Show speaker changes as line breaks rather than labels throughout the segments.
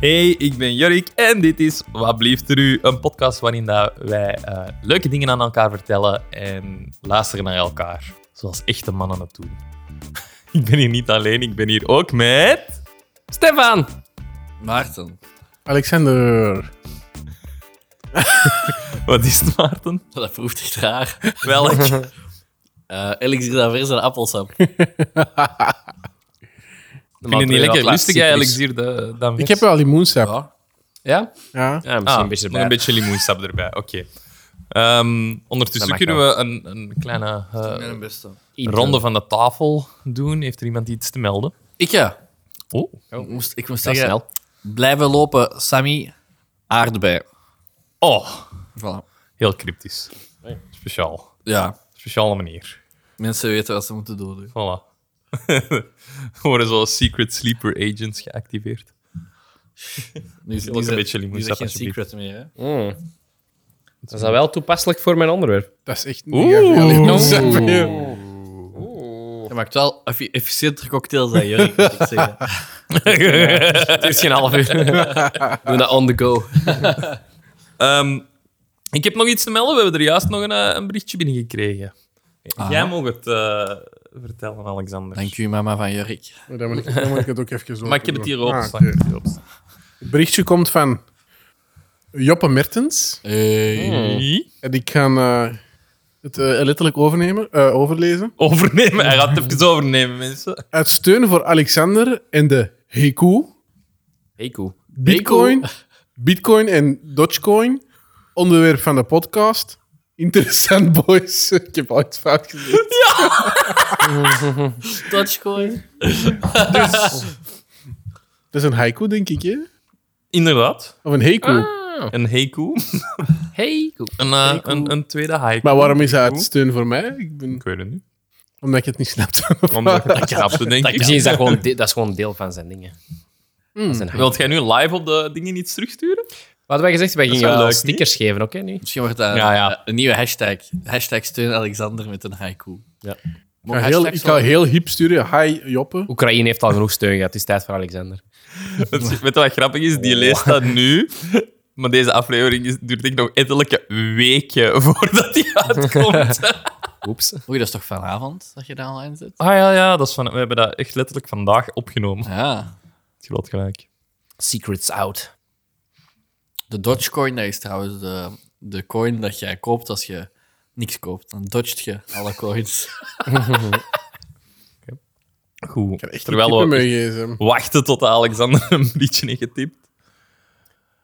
Hey, ik ben Jorik en dit is Wat blieft er u? Een podcast waarin dat wij eh, leuke dingen aan elkaar vertellen en luisteren naar elkaar. Zoals echte mannen het doen. ik ben hier niet alleen, ik ben hier ook met... Stefan!
Maarten,
Alexander.
Wat is het, Maarten?
dat proeft echt raar.
Welk?
Eh elixir d'Avers en appelsap.
Ik vind het niet lekker lustig eigenlijk, hier de, dan
Ik heb wel limoensap.
Ja.
Ja?
Ja.
Ja, misschien
Ah,
een beetje
nog
erbij.
een beetje limoensap erbij, oké. Ehm, ondertussen
Dat mag
kunnen we een, een kleine
Ik ben
eh,
het beste.
Intro.
ronde van de tafel doen. Heeft er iemand iets te melden?
Ik ja.
Oh,
Ik moest, ik moest
Dat is
zeggen,
snel.
blijven lopen, Sammy, aardbei.
oh
Voilà.
heel cryptisch. Speciaal.
Ja,
Speciale manier.
mensen weten wat ze moeten doen. hè.
Voilà. Worden zo secret sleeper agents geactiveerd.
Nu is
wil ook een beetje limoensap,
nu is dat geen
alsjeblieft.
secret meer. Hè?
Mm. Dat is dan wel toepasselijk voor mijn onderwerp.
Dat is echt mega veel limoensap. ja.
Oh.
Je maakt wel effi- efficiënter cocktails dan Jurk, moet ik zeggen.
Het is geen half uur. Doe dat on the go.
Ehm, ik heb nog iets te melden. We hebben er juist nog een, eh, een berichtje binnengekregen.
Ah.
Jij mag het eh, vertellen, Alexander.
Dank u, mama van Jurk.
Maar Oh, Dan, moet ik, dan moet ik het ook even zo
Maar ik heb het
doen.
hier op.
Ah, oké. Het berichtje komt van Joppe Mertens.
Hmm. Hm.
Hey.
En ik ga eh, het eh, letterlijk overnemen, eh, overlezen.
Overnemen. Hij gaat het even overnemen, mensen.
Uit steun voor Alexander en de Heku,
Hey, cool.
Bitcoin, Bitcoin en Dogecoin, onderwerp van de podcast. Interessant, boys. ik heb al iets fout gezegd.
Dogecoin.
Dat is een haiku, denk ik, hè?
Inderdaad.
Of een heku.
Oh.
Een haiku.
Hey, cool.
Een, eh, een, een tweede haiku.
Maar waarom is dat uit steun voor mij? Ik ben,
Ik weet het niet.
omdat ik het niet snapte.
Omdat ik het snapte, denk ik.
Misschien is dat gewoon, de- dat is gewoon deel van zijn dingen.
Hmm.
Dat is een hype.
Wilt jij nu live op de dingen iets terugsturen?
Wat hebben wij gezegd? Wij
is
gingen
wel
wel
leuk,
stickers geven, oké? nu?
Misschien wordt dat
Ja, ja.
eh, een nieuwe hashtag. Hashtag steun Alexander met een haiku.
Ja.
Ik ga heel, ik ga heel hip sturen. Hi, Joppe.
Oekraïne heeft al genoeg steun gehad. Het is tijd voor Alexander.
Het is- Weet je wat grappig is? Die leest dat nu. Maar deze aflevering is, duurt denk ik nog ettelijke weken voordat die uitkomt.
Oeps.
Oei, dat is toch vanavond dat je daar online zit?
Ah ja, ja dat is van, we hebben dat echt letterlijk vandaag opgenomen.
Ja.
Het groot gelijk.
Secrets out.
De Dogecoin, dat is trouwens de, de coin dat jij koopt als je niks koopt. Dan dodgt je alle coins.
Goed.
Echt
Terwijl we
we...
wachten tot Alexander een berichtje heeft getipt.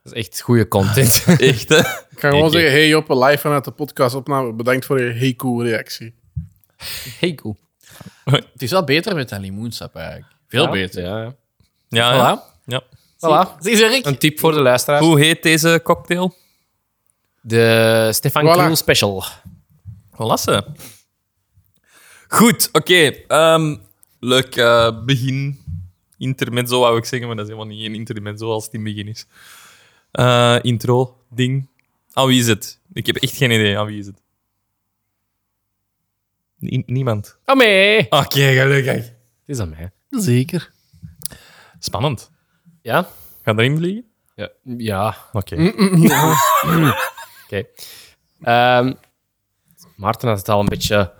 Dat is echt goede content.
Echt, hè?
Ik ga gewoon
Oké.
zeggen, hey Joppe, live vanuit de podcastopname. Bedankt voor je heku-reactie.
Hey, cool.
Het is wel beter met een limoensap eigenlijk. Veel
Ja,
beter.
Ja.
Ja, ja.
Voilà.
ja.
Voilà.
Zie je, Rick?
Een tip voor de luisteraars.
Hoe heet deze cocktail?
De Stefan
Voilà.
Kroon special.
Golassen. Goed, oké. ehm, leuk eh, begin. Intermezzo wou ik zeggen, maar dat is helemaal niet een intermezzo als het in het begin is. Eh, intro, ding. Aan wie is het? Ik heb echt geen idee. Aan wie is het? Nie- niemand.
Oh, mee. Het
Oké, gelukkig.
is aan mij.
Zeker.
Spannend.
Ja?
Gaan erin vliegen?
Ja. ja. Mm,
Oké.
Oké. Ehm, Maarten had het al een beetje.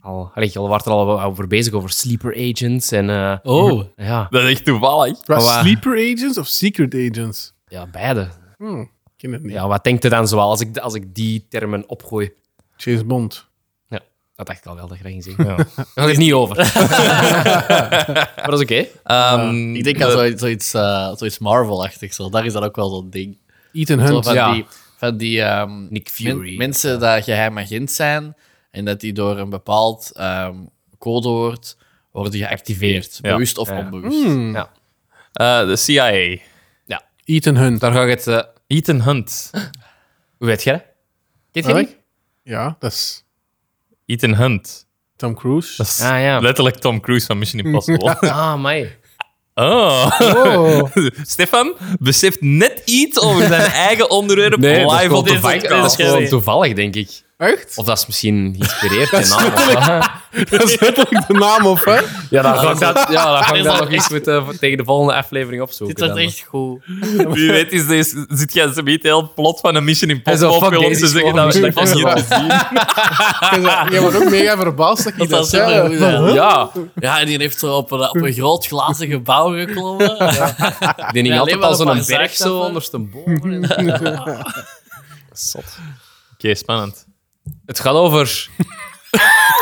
Al, allee, we waren er al over bezig over sleeper agents en. eh,
Oh.
ja,
Dat is echt toevallig.
Was
Voilà.
sleeper agents of secret agents?
ja, beide.
Hm, ik ken het niet.
Ja, wat denkt u dan zoal als ik, als ik die termen opgooi?
James Bond.
Ja, dat dacht ik al wel dat je dat ging zeggen. Ja. Daar had ik het niet over. maar dat is oké.
Ehm,
Ik denk aan zoiets, zoiets, eh, zoiets Marvel-achtig. Zo. Daar is dat ook wel zo'n ding.
Ethan
Zo
Hunt.
van,
ja.
die, van die ehm,
Nick Fury.
men- mensen dat geheim agent zijn en dat die door een bepaald ehm, codewoord worden geactiveerd,
Ja.
bewust of
Ja.
onbewust.
Hmm.
Ja.
eh, de CIA.
Ethan Hunt.
Daar ga ik het. eh,
Ethan Hunt.
hoe weet jij dat? Kent je
Welk?
die?
Ja, dat is
Ethan Hunt.
Tom Cruise.
Dat is
Ah, ja.
letterlijk Tom Cruise van Mission Impossible.
Ah, mij.
Oh. Stefan beseft net iets over zijn eigen onderwerp
Nee, dat is
live
gewoon
op de
toevallig, dat is
podcast.
gewoon toevallig, denk ik.
Echt?
Of dat is misschien geïnspireerd in naam. of wat.
Dat is letterlijk de naam, of hè?
Ja, dan ga ik dat, ja, dan ga
Dit
ik
is
dat
wel
nog eens moeten voor- tegen de volgende aflevering opzoeken.
Dit was
dan.
echt goed.
Wie weet is deze, zit jij ze niet heel plot van een Mission
Hij zo,
Impossible
fuck
film om
deze
te zeggen dat we
gewoon.
dat was niet te zien.
Jij was ook mega verbaasd dat je
Dat
dat,
was
zei.
supergoed, ja.
Ja,
Ja, en die heeft zo op een, op een groot glazen gebouw geklommen.
die hing
Ja, alleen
altijd
maar
al
een
zo'n
paar
berg
zakstappen.
zo ondersteboven. Zot.
Oké, spannend.
Het gaat over...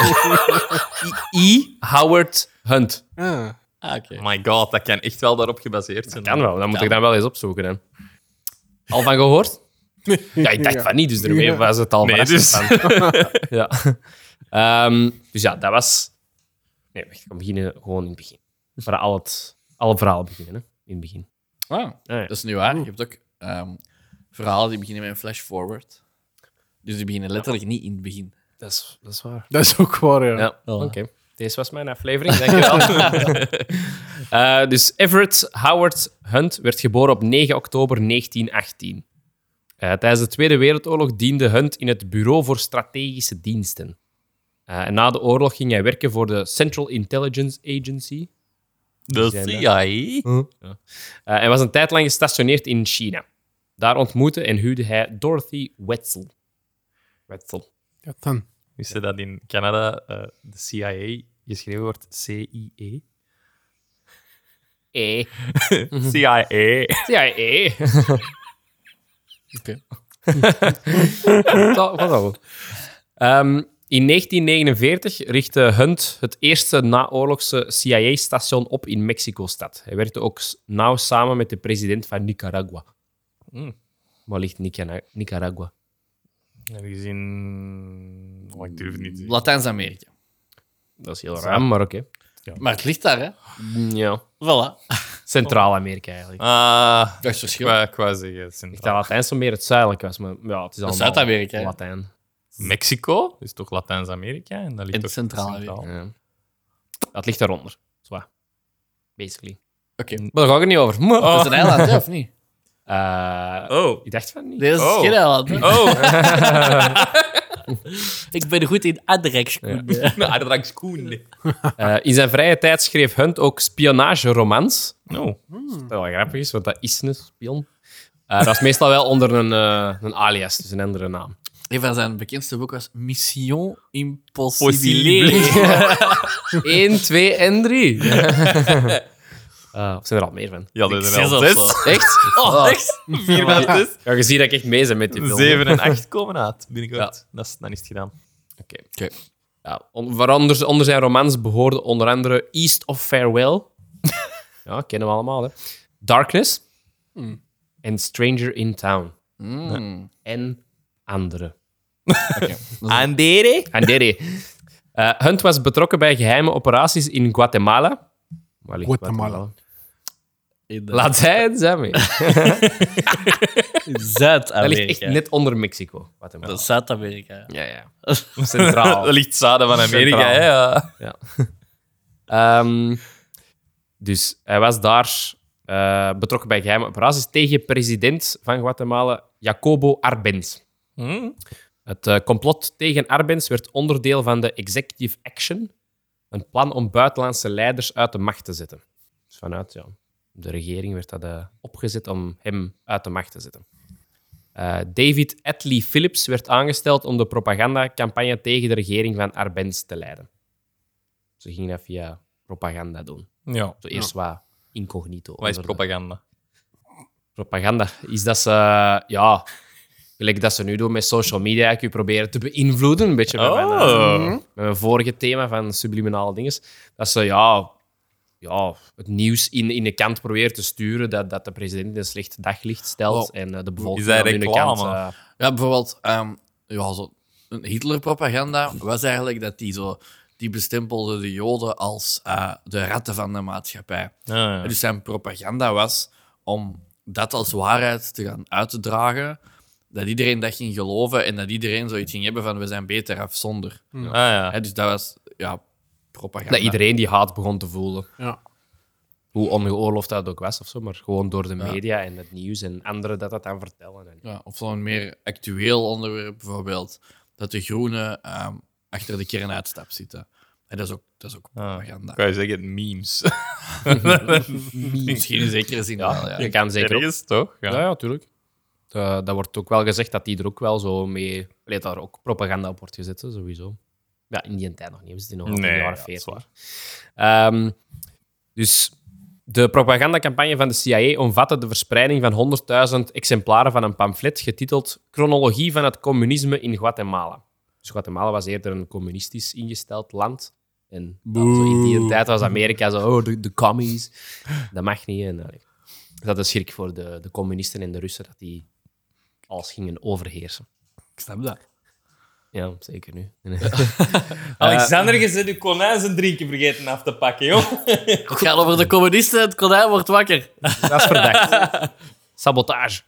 E. E. Howard Hunt.
Ah.
Ah, oké.
Oh my god, dat kan echt wel daarop gebaseerd zijn.
Kan wel, dat moet ik dan wel eens opzoeken. Hè. Al van gehoord? Ja, ik dacht
Ja.
van niet, dus daarmee
Ja.
was het al
Nee,
verrassend
dus-
van. ja. Ehm, dus ja, dat was... Nee, wacht, ik kan beginnen gewoon in het begin. Voor al het, alle verhalen beginnen, hè. In het begin.
Wauw.
Ah, ja.
Dat is niet waar. Je hebt ook ehm, verhalen die beginnen met een flash forward. Dus die beginnen letterlijk niet in het begin.
Dat is, dat is waar.
Dat is ook waar, ja.
Ja, oké. Deze was mijn aflevering, dankjewel. Eh dus Everett Howard Hunt werd geboren op 9 oktober 1918. Eh, tijdens de Tweede Wereldoorlog diende Hunt in het Bureau voor Strategische Diensten. Eh, en na de oorlog ging hij werken voor de Central Intelligence Agency.
De
zijn Mm.
CIA.
Eh, en was een tijd lang gestationeerd in China. Daar ontmoette en huwde hij Dorothy Wetzel. Wetzel.
Ja, dan.
Wist je dat in Canada eh, de CIA geschreven wordt C-I-E?
Eh.
CIA.
Ja, eh.
Oké.
Dat was al. Ehm, in 1949 richtte Hunt het eerste naoorlogse CIA-station op in Mexico-stad. Hij werkte ook s- nauw samen met de president van Nicaragua. Hmm.
Mm.
Waar ligt Nicana- Nicaragua?
Heb je gezien... Oh, ik durf het niet te zeggen.
Latijns-Amerika.
Dat is heel raar, maar oké.
Maar het ligt daar, hè?
Ja.
Voilà.
Centraal-Amerika eigenlijk.
Ah,
Dat is verschil.
qua, qua zeggen.
Ik
Centraal.
dacht Latijn zo meer het zuidelijke was, maar ja, het is allemaal
Zuid-Amerika, hè?
Latijn.
Mexico is toch Latijns-Amerika? En dat ligt
En
toch
Centraal-Amerika.
Ja. Dat ligt daaronder. Zwaar. Basically.
Oké.
Maar daar ga ik het niet over. Oh.
Dat is een eiland, hè, of niet?
Eh,
Oh.
ik dacht van niet.
Nee, dat is
Oh.
geen eiland. hè.
Oh,
Ik ben goed in aardrijkskunde.
Aardrijkskoen.
Eh, in zijn vrije tijd schreef Hunt ook spionageromans.
No.
Dat wel grappig is, want dat is een spion. Eh, dat is meestal wel onder een, eh, een alias, dus een andere naam.
Een van zijn bekendste boeken was Mission Impossible.
Possible.
1, 2 en 3. zijn er al meer van?
Ja,
Ik
dat is
zie
wel
dat
zes.
wel.
Echt?
Oh, echt? Vier van zes.
Ja, je ziet dat ik echt mee ben met die film.
Zeven en acht komen uit binnenkort. Dat is, dan is het gedaan.
Oké.
Oké.
Ja, on- waaronder onder zijn romans behoorden onder andere East of Farewell. ja, kennen we allemaal, hè. Darkness.
Hmm.
En Stranger in Town.
Mm.
En andere.
Andere?
Andere. Eh Hunt was betrokken bij geheime operaties in Guatemala. Waar ligt
Guatemala.
In de-
Laat zij het zijn. mee. Dat ligt echt
Zuid-Amerika.
net onder Mexico. Guatemala.
Dat is Zuid-Amerika.
Ja, ja. Centraal.
Dat ligt zaden van Amerika,
Centraal.
hè? ja.
Ehm, dus hij was daar eh, betrokken bij geheime operaties tegen president van Guatemala, Jacobo Arbenz.
Hm?
Het eh, complot tegen Arbenz werd onderdeel van de Executive Action, een plan om buitenlandse leiders uit de macht te zetten. Dus vanuit ja, de regering werd dat eh, opgezet om hem uit de macht te zetten. Eh, David Atlee Phillips werd aangesteld om de propagandacampagne tegen de regering van Arbenz te leiden. Ze gingen dat via propaganda doen.
Ja.
Zo eerst wat incognito.
Wat is
onder de-
propaganda?
propaganda is dat ze, eh, ja, gelijk dat ze nu doen met social media, ik u proberen te beïnvloeden. Een beetje met, mijn, eh,
Oh.
met mijn vorige thema van subliminale dingen. Dat ze, ja, ja het nieuws in, in de kant proberen te sturen dat, dat de president in een slecht daglicht stelt en eh, de bevolking
Oh. Is dat
aan hun
reclame?
kant... eh,
Ja, bijvoorbeeld, ehm, ja, zo, een Hitler-propaganda was eigenlijk dat die zo. Die bestempelde de Joden als eh, de ratten van de maatschappij.
Ja, ja.
Dus zijn propaganda was om dat als waarheid te gaan uit te dragen. Dat iedereen dat ging geloven en dat iedereen zoiets ging hebben van we zijn beter af zonder.
Ah, ja.
Hè, dus dat was ja, propaganda.
dat iedereen die haat begon te voelen.
Ja.
Hoe ongeoorloofd dat ook was, of zo, maar gewoon door de media en het nieuws en anderen dat dat aan vertellen. En...
Ja, of zo'n meer actueel onderwerp bijvoorbeeld. dat de groenen ehm, achter de kernuitstap zitten. En dat is ook, dat is ook propaganda.
kan je zeggen, memes.
Misschien in zekere zin wel, ja.
Je kan zeker ook-
Ergens, toch? Ja.
Ja, ja, tuurlijk. Eh, dat wordt ook wel gezegd dat die er ook wel zo mee... Allee, dat daar ook propaganda op wordt gezet, hè, sowieso. Ja, in die tijd nog niet. We zitten nog altijd in
Nee,
de jaren
ja, dat is
40. Ehm, dus de propagandacampagne van de CIA omvatte de verspreiding van 100.000 exemplaren van een pamflet getiteld Chronologie van het communisme in Guatemala. Dus Guatemala was eerder een communistisch ingesteld land. En nou, zo in die tijd was Amerika zo, oh, de, de commies. Dat mag niet. En, allee. Dus dat is schrik voor de, de communisten en de Russen, dat die alles gingen overheersen.
Ik snap dat. Eh,
Ja, zeker nu.
Alexander,
Eh,
je zit uw konijn zijn drinken vergeten af te pakken, joh.
Het gaat over de communisten, het konijn wordt wakker.
Dat is verdacht. Sabotage.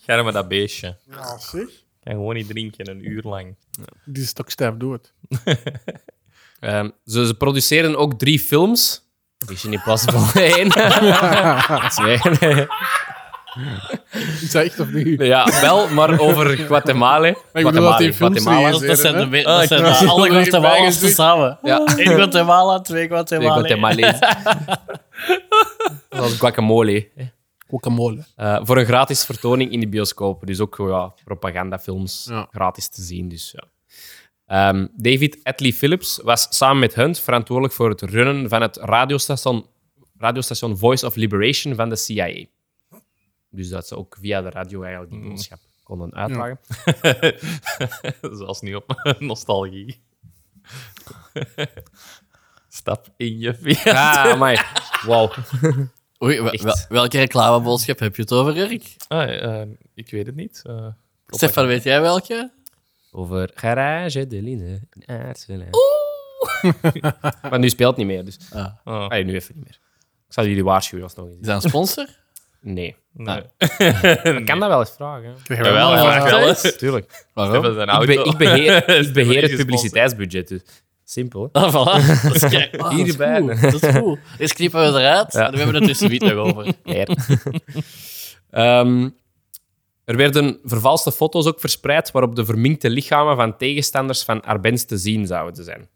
Ga nou maar dat beestje.
Ja, zeg.
Kan gewoon niet drinken, een uur lang.
Die is toch stijf dood.
Ehm, ze, ze produceren ook drie films. Mission Impossible 1. Twee.
Is dat echt of niet?
ja, wel, maar over Guatemala.
Maar ik bedoel dat die films
Guatemala.
niet
Dat zijn de,
hè?
we- dat zijn de alle Guatemala's tezamen.
Ja.
Eén Guatemala, twee Guatemala.
Guatemala. Dat is guacamole. hè.
Guacamole.
Eh, voor een gratis vertoning in de bioscoop. Dus ook ja, propagandafilms
Ja.
gratis te zien. Dus, ja. Ehm, David Atlee Phillips was samen met Hunt verantwoordelijk voor het runnen van het radiostation, radiostation Voice of Liberation van de CIA. Dus dat ze ook via de radio eigenlijk die boodschap konden uitdragen.
Zelfs niet op nostalgie. Stap in je via.
Ah, amai. Wauw.
Oei, wel- wel- welke reclameboodschap heb je het over, Erik?
Ah, eh, ik weet het niet. Eh,
Stefan, weet jij welke?
Over Garage de Line in Aarselaar. maar nu speelt het niet meer. Dus.
Ah.
Ah.
Allee, nu even niet meer. Ik zal jullie waarschuwen alsnog
Is
eens.
dat een sponsor?
Nee.
nee.
Ik kan dat wel eens vragen. hè.
Krijgen we
Jawel,
allemaal-
ja, wel eens.
Tuurlijk.
Waarom?
Hebben ze een
Ik,
auto?
be- ik beheer, ik beheer het
gesponsord.
publiciteitsbudget. Dus. Simpel. hè.
Ah, voilà. Dat is kijk. Ah, dat is
Hierbij.
goed. Dat is goed. Eerst knippen we eruit en we hebben het er tussen niet nog over.
Ja. Ehm, er werden vervalste foto's ook verspreid waarop de verminkte lichamen van tegenstanders van Arbenz te zien zouden zijn.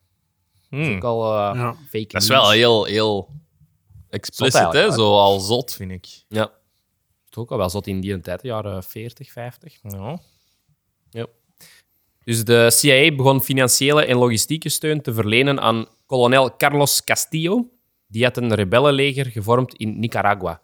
Hmm.
Ook al eh,
Ja.
fake
Dat is
news.
wel heel, heel explicit,
eigenlijk,
hè?
hè?
Zo al zot, vind ik.
Ja. Dat is ook al wel zot in die tijd, de jaren 40, 50.
Ja.
Dus de CIA begon financiële en logistieke steun te verlenen aan kolonel Carlos Castillo. Die had een rebellenleger gevormd in Nicaragua.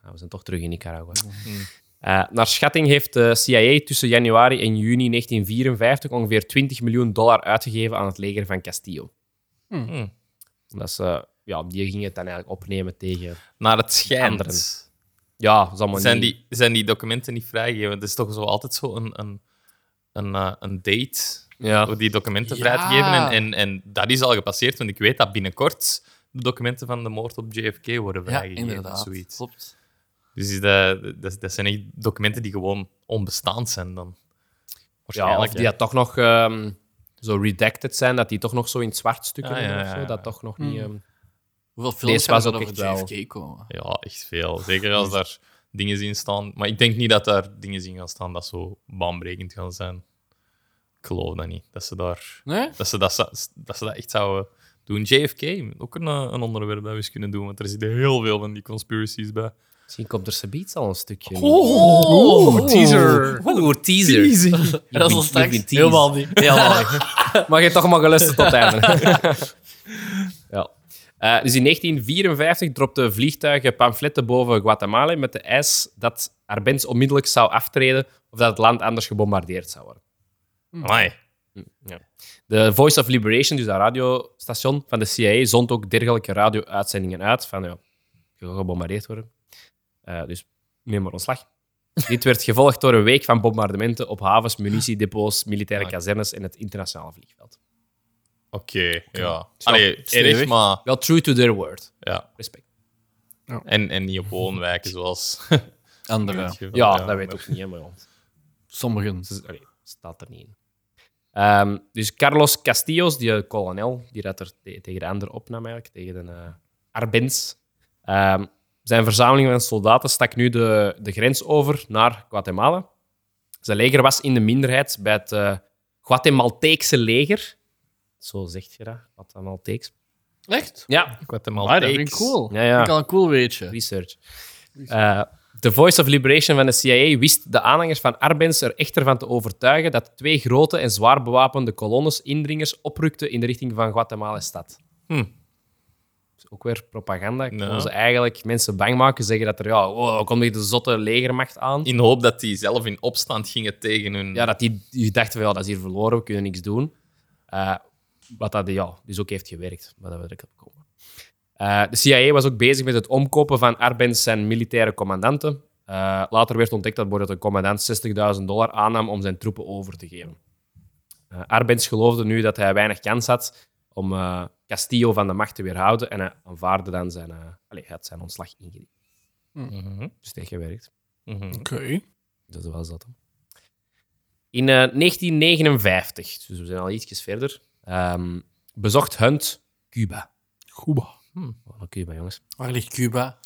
Nou, we zijn toch terug in Nicaragua.
Hmm.
Eh, naar schatting heeft de CIA tussen januari en juni 1954 ongeveer 20 miljoen dollar uitgegeven aan het leger van Castillo.
Hmm.
Dat is, eh, ja, die gingen het dan eigenlijk opnemen tegen...
Naar het schijnt.
Anderen. Ja, dat is allemaal
Zijn
niet-
die, zijn die documenten niet vrijgegeven? Het is toch zo altijd zo een, een, een, eh, een date
Ja.
om die documenten
Ja.
vrij te geven. En, en, en dat is al gepasseerd, want ik weet dat binnenkort de documenten van de moord op JFK worden
Ja,
vrijgegeven. of
inderdaad.
zoiets.
Klopt.
Dus is dat, dat, dat zijn echt documenten die gewoon onbestaand zijn dan.
Ja, of
Waarschijnlijk,
die
hè.
dat toch nog ehm, zo redacted zijn, dat die toch nog zo in het zwart stukken
Ah, ja,
hebben of
ja,
zo,
ja.
dat toch nog niet... ehm,
Hoeveel films
Deze was
gaan er
ook
over
echt
JFK komen?
Ja, echt veel. Zeker als daar dingen in staan. Maar ik denk niet dat daar dingen in gaan staan dat zo baanbrekend gaan zijn. Ik geloof dat niet. Dat ze, daar,
Nee?
dat, ze dat, zou- dat ze dat echt zouden doen. JFK, ook een, eh, een onderwerp dat we eens kunnen doen. Want er zitten heel veel van die conspiracies bij.
Misschien komt er Sabiets al een stukje.
Oh,
Teaser.
Oeh, teaser.
Dat is al
You've been
straks.
teased.
Helemaal niet.
Helemaal niet. Maar je hebt toch maar geluisterd tot het einde. ja. Eh, dus in 1954 dropten vliegtuigen pamfletten boven Guatemala met de eis dat Arbenz onmiddellijk zou aftreden of dat het land anders gebombardeerd zou worden.
Amai.
De Voice of Liberation, dus dat radiostation van de CIA, zond ook dergelijke radio-uitzendingen uit. Van ja, je gaat gebombardeerd worden. Eh, dus neem maar ontslag. Dit werd gevolgd door een week van bombardementen op havens, munitiedepots, militaire kazernes en het internationale vliegveld.
Oké, ja. Allee, erg,
stevig.
maar...
Wel true to their word.
Ja.
Respect.
En, en niet op woonwijken zoals...
Andere.
Ja, dat weet ik ook niet helemaal.
Sommigen.
Dus, allee, staat er niet in. Ehm, dus Carlos Castillos, die eh, kolonel, die dat er te- tegen de ander opnam eigenlijk, tegen de eh Arbenz. Ehm, zijn verzameling van soldaten stak nu de, de grens over naar Guatemala. Zijn leger was in de minderheid bij het eh, Guatemalteekse leger. Zo zegt je dat, Guatemalteeks.
Echt?
Ja,
Guatemala.
Ah, dat vind ik cool.
Ja, ja.
Vind ik al een cool weetje.
research. Eh, de Voice of Liberation van de CIA wist de aanhangers van Arbenz er echter van te overtuigen dat twee grote en zwaar bewapende kolonnes indringers oprukten in de richting van Guatemala-stad.
Hm.
Dus ook weer propaganda. Ik
Ja.
wil ze eigenlijk mensen bang maken, zeggen dat er ja, oh, komt hier de zotte legermacht aan.
In de hoop dat die zelf in opstand gingen tegen hun...
Ja, dat die, die dachten van ja, dat is hier verloren, we kunnen niks doen. Eh, wat dat ja, dus ook heeft gewerkt, maar dat we direct op komen. Eh, de CIA was ook bezig met het omkopen van Arbenz zijn militaire commandanten. Eh, later werd ontdekt dat bijvoorbeeld een commandant 60.000 dollar aannam om zijn troepen over te geven. Eh Arbenz geloofde nu dat hij weinig kans had om eh, Castillo van de macht te weerhouden en hij aanvaarde dan zijn, eh allez, hij had zijn ontslag ingediend.
Mhm,
Dus tegengewerkt.
mhm.
Oké.
Dat was dat. dan. In eh, 1959, dus we zijn al ietsjes verder, ehm, bezocht Hunt Cuba.
Cuba.
Oh, naar Cuba, jongens.
Waar ligt Cuba?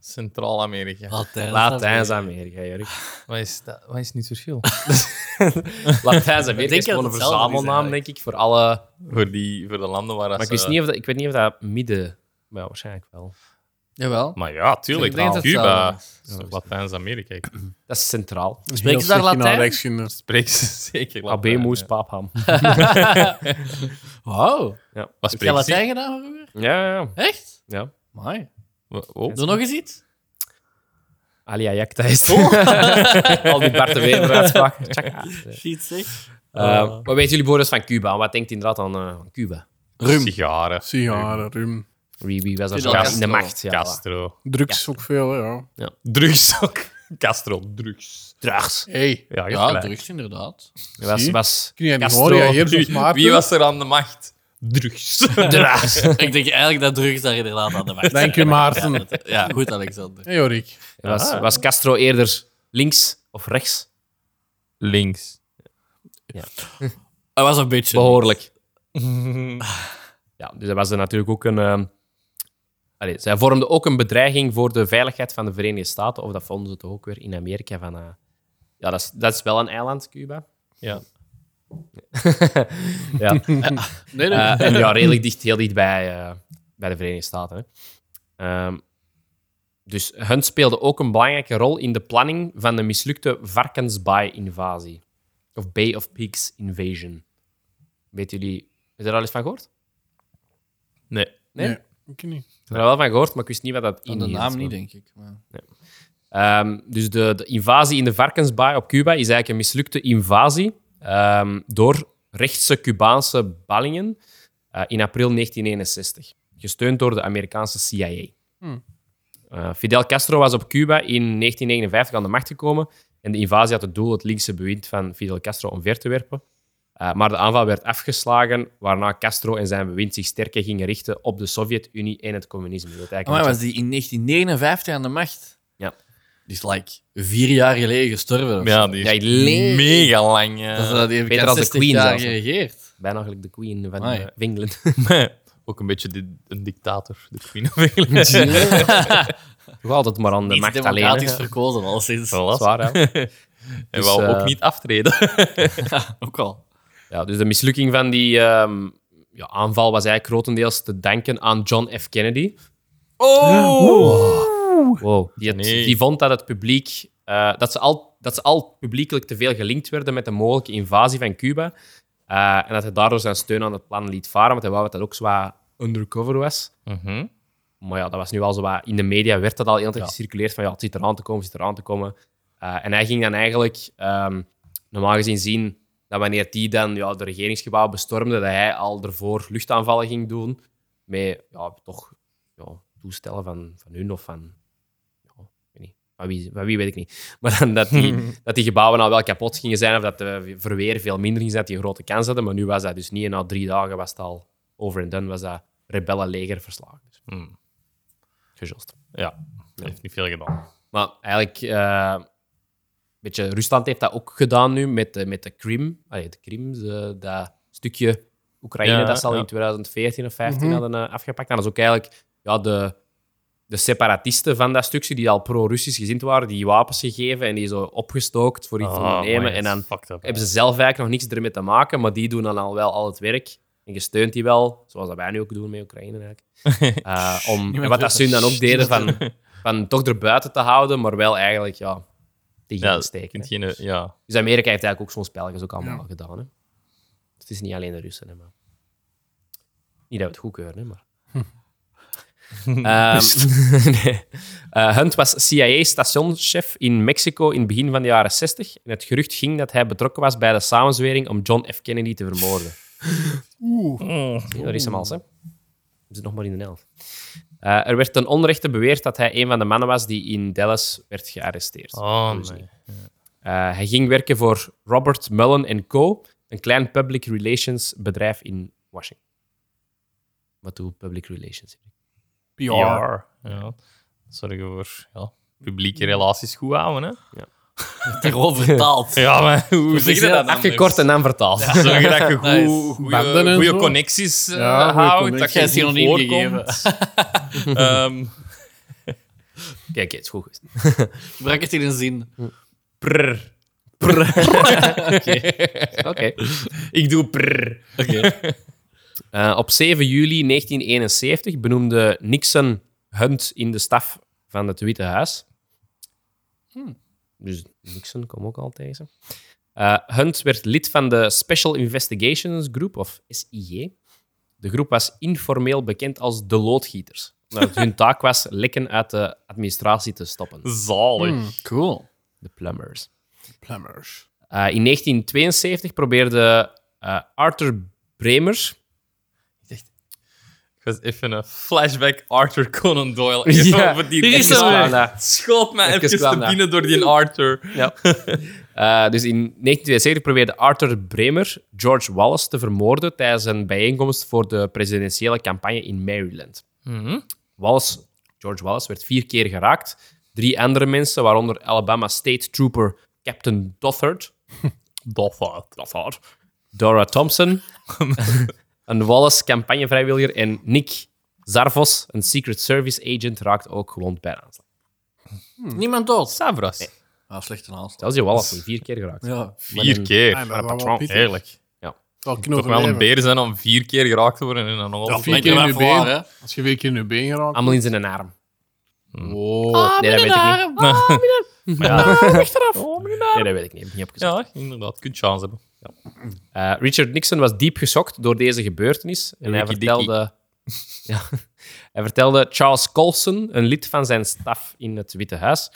Centraal-Amerika.
Latijns.
Latijns-Amerika, Jurk.
Wat is, dat, wat is nu het verschil?
denk
Latijns-Amerika
dat
is gewoon een
het hetzelfde is,
verzamelnaam,
eigenlijk.
denk ik, voor alle...
voor, die, voor de landen waar
Maar ik, wist niet of dat, ik weet niet of dat midden... Maar ja, waarschijnlijk wel.
Jawel.
Maar ja, tuurlijk.
Ik denk dat het
Cuba.
hetzelfde
Dat is toch Latijns-Amerika. Ik
Dat is centraal.
Spreken ze daar Latijn?
spreek ze zeker
AB
Latijn,
moes
ja.
paapham.
Wauw.
Wat
Heb jij
spreekt ze?
Latijn gedaan vroeger?
Ja, ja,
Echt?
ja.
Mooi.
Oh,
Doe nog eens iets.
Alia Jacta is het. Al die Bart de Wever uitspraken. Tjaka.
Giet zeg.
Ehm, Wat weten jullie, Boris, van Cuba? Wat denkt inderdaad aan eh, aan Cuba?
Sigaren.
Sigaren, rum.
Wie, wie was er
Fidel
zo in de
Castro.
macht? Ja, voilà.
Castro.
Drugs ook veel, hè, ja.
Drugs ook. Castro, drugs.
Drugs.
Hey,
Ja, je hebt
Ja,
gelijk.
drugs inderdaad.
Was,
Zie.
was
kun jij niet
Castro.
horen? Ja, hier zoals
Wie,
Maarten.
Hm?
wie was er aan de macht? Drugs.
Drugs. Ik denk eigenlijk dat drugs daar inderdaad aan de macht
Dank je,
zijn.
Maarten.
Ja, dat- Ja, goed, Alexander.
Hey, Jorik.
was, was Castro eerder links of rechts?
Links.
Dat was een beetje...
Behoorlijk. Ja, dus dat was er natuurlijk ook een. ehm, allee, zij vormden ook een bedreiging voor de veiligheid van de Verenigde Staten. Of dat vonden ze toch ook weer in Amerika. Van, eh, ja, dat is, dat is wel een eiland, Cuba.
Ja.
Ja.
Nee, nee.
Eh, en ja, redelijk dicht, heel dicht bij, eh, bij de Verenigde Staten. Hè. Ehm, dus hun speelde ook een belangrijke rol in de planning van de mislukte Varkensbaai-invasie. Of Bay of Pigs invasion. Weten jullie, hebben jullie er al eens van gehoord?
Nee.
Nee?
Nee, ik niet.
Ik heb er wel van gehoord, maar ik wist niet wat dat
Aan
in
de naam niet, denk ik. Maar...
Ehm, dus de, de invasie in de varkensbaai op Cuba is eigenlijk een mislukte invasie ehm, door rechtse Cubaanse ballingen eh, in april 1961, gesteund door de Amerikaanse CIA.
Hmm.
Eh, Fidel Castro was op Cuba in 1959 aan de macht gekomen en de invasie had het doel het linkse bewind van Fidel Castro omver te werpen. Eh, maar de aanval werd afgeslagen, waarna Castro en zijn bewind zich sterker gingen richten op de Sovjet-Unie en het communisme. Dat eigenlijk
Maar
een
Oh, was die in 1959 aan de macht?
Ja.
Die is like vier jaar geleden gestorven. of zo.
Ja, die
Ja,
is
leeg.
mega lang. eh.
Dat is dat die heeft
Beter als de
60
Queen
jaar
zelfs, hè.
geregeerd.
Bijna eigenlijk de queen van
Amai.
eh, van Engeland.
Ook een beetje di- een dictator. De Queen of England.
Toch altijd maar aan de
Niet
macht alleen.
democratisch
hè.
verkozen al sinds.
Voilà.
Zwaar, hè?
En
Dus,
wou
eh,
ook niet aftreden.
Ook al.
ja, dus de mislukking van die ehm, ja, aanval was eigenlijk grotendeels te danken aan John F. Kennedy. Oh! Wow. Die, had-
Nee.
die vond dat het publiek... eh, dat, ze al, dat ze al publiekelijk te veel gelinkt werden met de mogelijke invasie van Cuba. Eh, en dat hij daardoor zijn steun aan het plan liet varen, want hij wou dat dat ook zwaar undercover was.
Mhm.
Maar ja, dat was nu al zo wat... In de media werd dat al heel tijd gecirculeerd van ja, het zit eraan te komen, het zit eraan te komen. Eh, en hij ging dan eigenlijk ehm, normaal gezien zien dat wanneer die dan ja, de regeringsgebouw bestormde, dat hij al ervoor luchtaanvallen ging doen met ja, toch ja, toestellen van, van hun of van... ja, ik weet niet. Van wie, van wie weet ik niet. Maar dan dat, die, dat die gebouwen al wel kapot gingen zijn of dat de verweer veel minder ging zijn, dat die een grote kans hadden. Maar nu was dat dus niet. En na drie dagen was het al over en done, was dat rebellenleger verslagen. Dus,
Hmm.
gejost.
Ja, dat heeft niet veel gedaan.
Maar eigenlijk, eh, een beetje, Rusland heeft dat ook gedaan nu met de, met de Krim. Allee, de Krim, de- dat stukje Oekraïne
Ja, Mhm.
dat ze al
ja.
in 2014 of 2015 hadden eh, afgepakt. En dat is ook eigenlijk ja, de de separatisten van dat stukje, die al pro-Russisch gezind waren, die wapens gegeven en die zo opgestookt
Ah,
voor iets
Oh,
te ondernemen. En dan hebben ze zelf eigenlijk nog niks ermee te maken, maar die doen dan al wel al het werk. En je steunt die wel, zoals dat wij nu ook doen met Oekraïne eigenlijk. Eh, om, en wat dat ze hun dan ook deden, van, van toch erbuiten te houden, maar wel eigenlijk, ja, tegen
Ja,
te
je
steken.
kunt
hè.
geen, eh, ja.
Dus Amerika heeft eigenlijk ook zo'n spelletjes ook allemaal al gedaan. Hè? Het is niet alleen de Russen, hè, maar... Niet dat we het goedkeuren, hè, maar... Ehm, nee. Eh, Hunt was CIA-stationschef in Mexico in het begin van de jaren 60. En het gerucht ging dat hij betrokken was bij de samenzwering om John F. Kennedy te vermoorden. Oeh. Daar is hem al, hè. We zitten nog maar in de elf. Eh, er werd ten onrechte beweerd dat hij een van de mannen was die in Dallas werd gearresteerd.
Oh,
Dat is
nee.
niet. Eh, hij ging werken voor Robert Mullen Co., een klein public relations bedrijf in Washington. Wat doet public relations?
PR. Ja. Zorgen voor ja, publieke relaties goed houden, hè?
Erover vertaald.
Ja, maar hoe
zeg
zeg
je
je
dat
dat
dan?
Afgekort en dan vertaald.
Zorgen dat je
Nice.
Banden en
goede
zo.
connecties eh,
Ja, goeie
houdt,
connecties.
dat je
Jij
goed
is hier nog niet
voorkomt. Ehm,
Kijk, het is goed. geweest.
Brak het in een zin.
prr.
Oké.
Ik doe prr.
Eh, op 7 juli 1971 benoemde Nixon Hunt in de staf van het Witte Huis. Dus Nixon kwam ook al tegen. Eh, Hunt werd lid van de Special Investigations Group, of SIG. De groep was informeel bekend als de loodgieters. omdat het hun taak was lekken uit de administratie te stoppen.
Zalig.
Cool.
De plumbers.
Plumbers.
Eh, in 1972 probeerde eh, Arthur Bremer,
Ik was even een flashback Arthur Conan Doyle. Even
Ja,
over die
hier is
even
hem
kwam
weer.
dat. Het schoot mij
Even
even,
kwam
te
dat.
binnen door die Arthur.
Eh, dus in 1972 probeerde Arthur Bremer George Wallace te vermoorden tijdens een bijeenkomst voor de presidentiële campagne in Maryland. Wallace, George Wallace werd vier keer geraakt. Drie andere mensen, waaronder Alabama State Trooper Captain Dothard,
Doffert.
Dothard Dora Thompson, een Wallace-campagnevrijwilliger en Nick Zarvos, een Secret Service agent, raakt ook gewond bij een aanslag. Hmm.
Niemand dood.
Savras.
Ah, slechte aanslag.
Dat is je Wallace, die vier keer geraakt.
Ja.
Vier keer.
Ah,
Eerlijk.
maar wel
patroon,
pittig.
Heerlijk.
Het zal
Toch wel een
been.
beer zijn om vier keer geraakt te worden en dan nog altijd-
vier
Ik ben
keer in je
er voor,
been.
hè.
Als je vier keer in je been geraakt.
Allemaal in zijn arm.
Wow.
nee, dat weet ik Oh, niet. Oh,
Maar ja,
Nee, dat weet ik niet. Ik heb niet opgezocht.
ja, inderdaad. Kun je chance hebben.
Eh, Richard Nixon was diep geschokt door deze gebeurtenis. En hij
Wikidiki.
vertelde, ja, hij vertelde Charles Colson, een lid van zijn staf in het Witte Huis,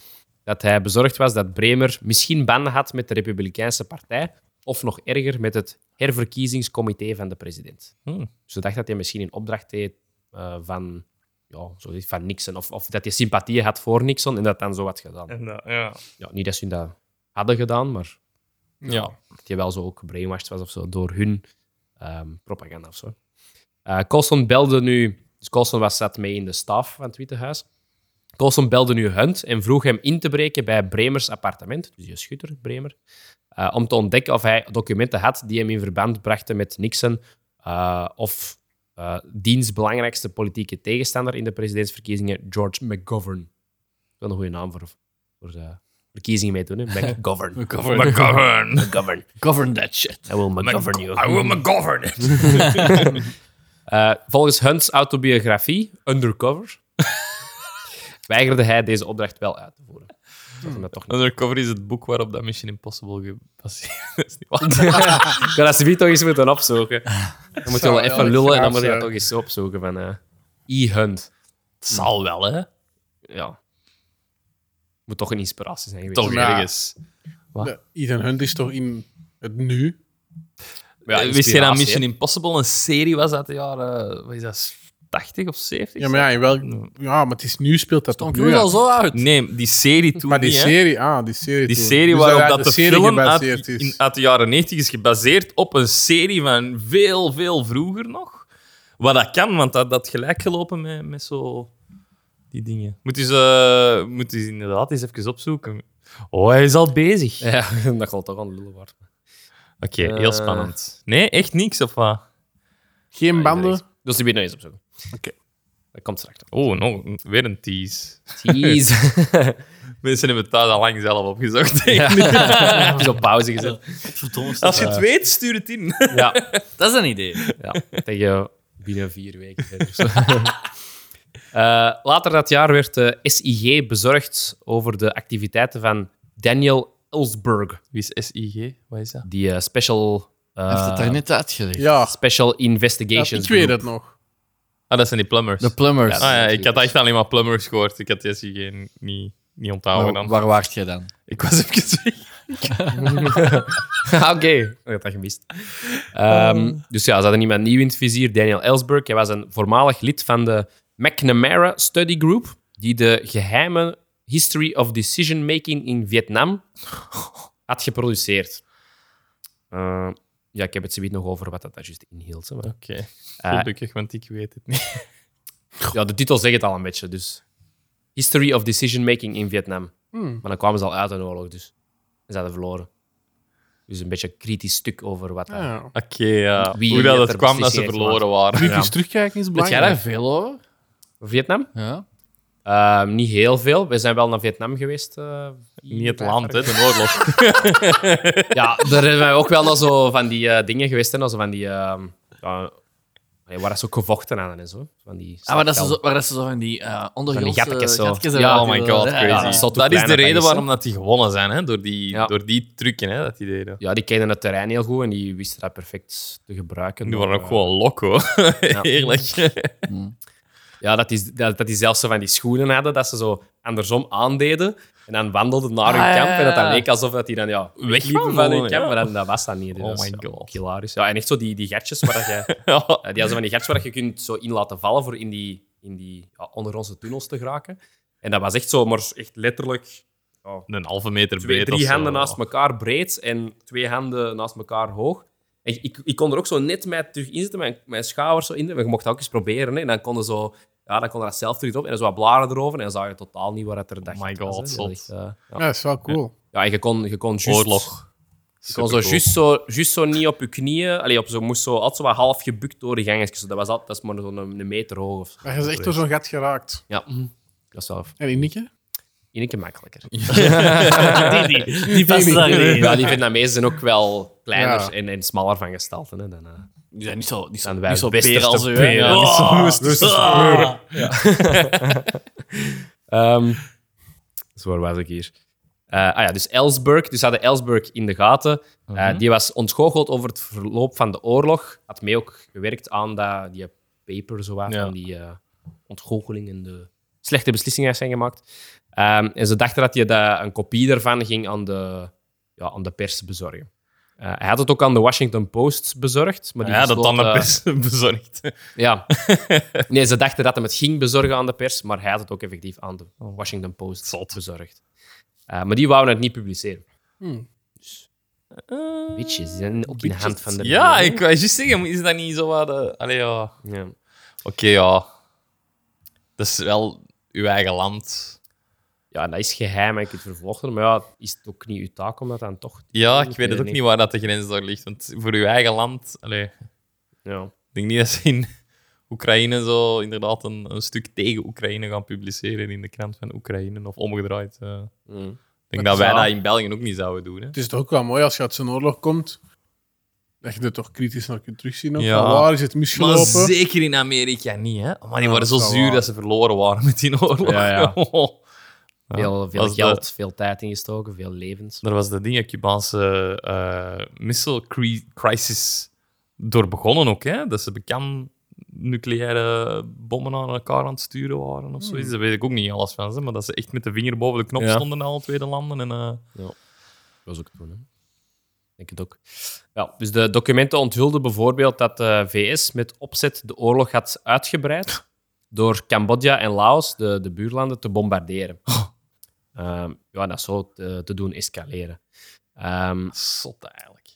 dat hij bezorgd was dat Bremer misschien banden had met de Republikeinse Partij. Of nog erger, met het herverkiezingscomité van de president.
Hmm.
Dus hij dacht dat hij misschien een opdracht deed eh, van, ja, zo iets van Nixon. Of, of dat hij sympathie had voor Nixon en dat dan zo had gedaan.
eh,
ja.
Ja, niet dat ze dat hadden gedaan, maar
Ja.
dat je wel zo ook brainwashed was of zo door hun ehm, propaganda of zo. Eh, Colson belde nu, dus Colson was zat mee in de staf van het Witte Huis. Colson belde nu Hunt en vroeg hem in te breken bij Bremers appartement, dus je schutter Bremer, eh, om te ontdekken of hij documenten had die hem in verband brachten met Nixon eh, of eh diens belangrijkste politieke tegenstander in de presidentsverkiezingen, George McGovern. Dat is een goede naam voor, voor eh, verkiezingen mee te doen, hè? McGovern.
McGovern.
McGovern.
Govern that shit.
I will McGovern you.
I will McGovern it.
Eh, volgens Hunt's autobiografie, Undercover, weigerde hij deze opdracht wel uit te voeren. Dat hem dat toch niet.
Undercover is het boek waarop dat Mission Impossible gebaseerd is.
Ik ga Ah. dat ze toch eens moeten opzoeken. Dan moet je wel
Zou wel
even lullen en dan
gaaf
moet je dat
zijn.
toch eens opzoeken van eh E-Hunt.
Zal wel, hè?
Ja. Moet toch een inspiratie zijn geweest.
Toch
Ja.
ergens.
Ethan Hunt is toch in het nu?
Ja,
Wist je dat
inspiratie,
Mission
hè.
Impossible een serie was uit de jaren eh, wat is dat, 80 of 70?
Ja, maar ja, in welk... ja, maar het is nu speelt dat
Tom
toch
Cruise
nu
al
uit.
zo uit.
Nee, die serie toen
Maar die
niet, hè.
serie, ah, die serie.
Die
toen.
serie
Dus
waarop dat
daar
de,
serie
film uit,
gebaseerd is.
in- uit de jaren 90 is gebaseerd op een serie van veel, veel vroeger nog. Wat dat kan, want dat had gelijk gelopen met, met zo die dingen. Moet eens, eh, moet eens inderdaad eens even opzoeken. Oh, hij is al bezig.
Ja, dat gaat toch aan de lullen worden.
Oké, heel
Eh.
spannend. Nee, echt niks of wat? Ah,
Geen banden.
Dus die weet nog eens opzoeken.
Oké.
Dat komt straks.
Oh, nog een- weer een tease.
Jeez.
Mensen hebben het thuis al lang zelf opgezocht. denk ik.
Heb je zo op pauze gezet.
Als je het weet, stuur het in.
Ja,
Dat is een idee.
ja. tegen binnen vier weken. verder of zo. Eh, later dat jaar werd eh, de SIG bezorgd over de activiteiten van Daniel Ellsberg,
Wie is SIG? Wat is dat?
die eh, special, eh,
Hij heeft het daar net uitgelegd.
Ja,
special
ja,
Investigations
ik weet het nog.
Ah, dat zijn die plumbers.
De plumbers.
Ah ja, ik had echt alleen maar plumbers gehoord. Ik had SIG niet, niet onthouden
Maar
dan.
Waar waart jij dan?
Ik was even weg.
Ah, Oké, ik had dat gemist. Ehm, Dus ja, ze hadden iemand nieuw in het vizier, Daniel Ellsberg. Hij was een voormalig lid van de McNamara Study Group, die de geheime History of Decision Making in Vietnam had geproduceerd. Eh, ja, ik heb het zoiets nog over wat dat daar juist inhield. hè, Maar,
Oké, Ah. gelukkig, want ik weet het niet.
ja, de titel zegt het al een beetje, dus... History of Decision Making in Vietnam. Maar dan kwamen ze al uit een oorlog, dus. En ze hadden verloren. Dus een beetje een kritisch stuk over wat... daar-
Ah, Ja.
Oké, ja.
Wie
Hoe dat
heeft
het
er
kwam dat ze
beslissing
verloren waren.
Kritisch terugkijken is
Weet jij daar
belangrijk.
veel over?
Vietnam?
Ja.
Ehm, niet heel veel. We zijn wel naar Vietnam geweest. eh, vier,
Niet het
vijf
land, hè,
jaar
de oorlog.
geleden. Ja, daar hebben we ook wel naar zo van die eh, dingen geweest. Hè, naar zo van die, ehm, ja, nee, waar dat ze ook gevochten aan en zo. Van die
Ah, maar dat is
slagvelden.
zo, waar dat ze zo van die eh ondergrondse
Van die gattekes zo.
Ja,
eruit
oh my
hebben.
god,
Ja, ja.
crazy.
zat ook
dat is
klein
de
dat
reden
is, hè.
waarom dat die gewonnen zijn, hè? Door, die,
Ja.
door die trucken, hè, dat die deden.
dus
Ja, die kenden het terrein heel goed en die wisten dat perfect te gebruiken.
Die waren
Maar,
ook
eh,
gewoon loco. Eerlijk.
Ja, dat die, dat, dat die zelfs zo van die schoenen hadden, dat ze zo andersom aandeden. En dan wandelden naar hun
Ah, ja,
kamp en dat dat
ja.
leek alsof dat die dan ja, wegliepen van
gewoon,
hun kamp.
ja.
Maar dan, dat was dat niet. Dus
Oh
dat is,
my
ja,
God.
ook Hilarisch. Ja, en echt zo die, die gatjes waar dat je...
Ja.
Ja, die hadden zo van die gatjes waar je kunt zo in laten vallen voor in die, in die ja, onder onze tunnels te geraken. En dat was echt zo, maar echt letterlijk
Een halve meter
twee,
breed
drie
of zo.
handen naast elkaar breed en twee handen naast elkaar hoog. En ik, ik kon er ook zo net mij terug in zitten, mijn, mijn schouder zo in. Maar je mocht dat ook eens proberen. Hè. En dan konden zo, ja, dan kon dat zelf terug op. En dan zo wat blaren erover. En dan zag je totaal niet waar het er dacht.
Oh my god, zot.
eh, ja.
Ja, dat is wel cool.
ja, en je kon, je kon juist...
Oorlog.
Je kon zo juist zo, juist zo niet op je knieën. Allee, op, zo, moest zo altijd zo wat half gebukt door de gangetjes. Dat was altijd, dat is maar zo'n een meter hoog. Of zo.
Maar je is echt door zo'n gat geraakt.
Ja,
Mhm.
dat is wel
En Ineke?
Ineke makkelijker.
Die, die, die passen daar niet in.
Ja, die Vietnamezen zijn ook wel kleiner
Ja.
en, en smaller van gestalte. Hè, dan, eh,
Die zijn niet zo, niet zo,
Dan wij
niet zo
westerse
beren als u. hè.
beren.
Ja.
Niet zo
Oh.
Ah.
Ehm dus waar was ik hier? Eh, ah ja, dus Ellsberg. Dus ze hadden Ellsberg in de gaten. Eh,
Mhm.
die was ontgoocheld over het verloop van de oorlog. Had mee ook gewerkt aan dat, die paper, zo wat,
Ja.
van die eh ontgoocheling en de slechte beslissingen die zijn gemaakt. Ehm, en ze dachten dat hij dat, een kopie daarvan ging aan de, ja, aan de pers bezorgen. Eh, hij had het ook aan de Washington Post bezorgd. Maar die
Ja, dat
besloot,
dan de
eh,
pers bezorgd.
ja. Nee, ze dachten dat hij het ging bezorgen aan de pers, maar hij had het ook effectief aan de Washington Post bezorgd. Eh, maar die wouden het niet publiceren.
Hmm.
Dus, bitches, die zijn ook in de hand van de...
Eh, Ja, ik wou juist zeggen, is dat niet zo wat... eh, Allee, ja. Oké,
Ja.
ja. Dat is wel uw eigen land.
Ja, en dat is geheim en je kunt vervolgd worden, maar ja, is het ook niet uw taak om dat dan toch... te
Ja,
doen?
ik weet het ook niet waar dat de grens daar ligt. Want voor uw eigen land... Allee, ik
Ja.
denk niet dat ze in Oekraïne zo inderdaad een, een stuk tegen Oekraïne gaan publiceren in de krant van Oekraïne. Of omgedraaid. eh.
Mm.
Ik denk
Dat
dat wij
zou-
dat in België ook niet zouden doen. Hè?
Het is toch ook wel mooi als je uit zo'n oorlog komt, dat je er toch kritisch naar kunt terugzien. Ook.
Ja.
Van Waar is het
Maar
misgelopen?
zeker in Amerika niet, hè? Maar die
Dus Ja,
waren zo
dat is wel
zuur
waar.
dat ze verloren waren met die oorlog.
Ja, ja.
Ja,
Veel, veel
als de-
geld, veel tijd ingestoken, veel levens.
Daar was de ding, Cubaanse eh missile cri- crisis door begonnen ook. Hè? Dat ze bekend nucleaire bommen aan elkaar aan het sturen waren of zoiets. Daar weet ik ook niet alles van. Hè? Maar dat ze echt met de vinger boven de knop
Ja.
stonden, alle twee de landen. En, eh,
Dat was ook toen, hè? Ik denk het ook. Ja, dus de documenten onthulden bijvoorbeeld dat de VS met opzet de oorlog had uitgebreid door Cambodja en Laos, de, de buurlanden, te bombarderen. Ehm, ja, dat zo te, te doen escaleren. Ehm,
zot eigenlijk.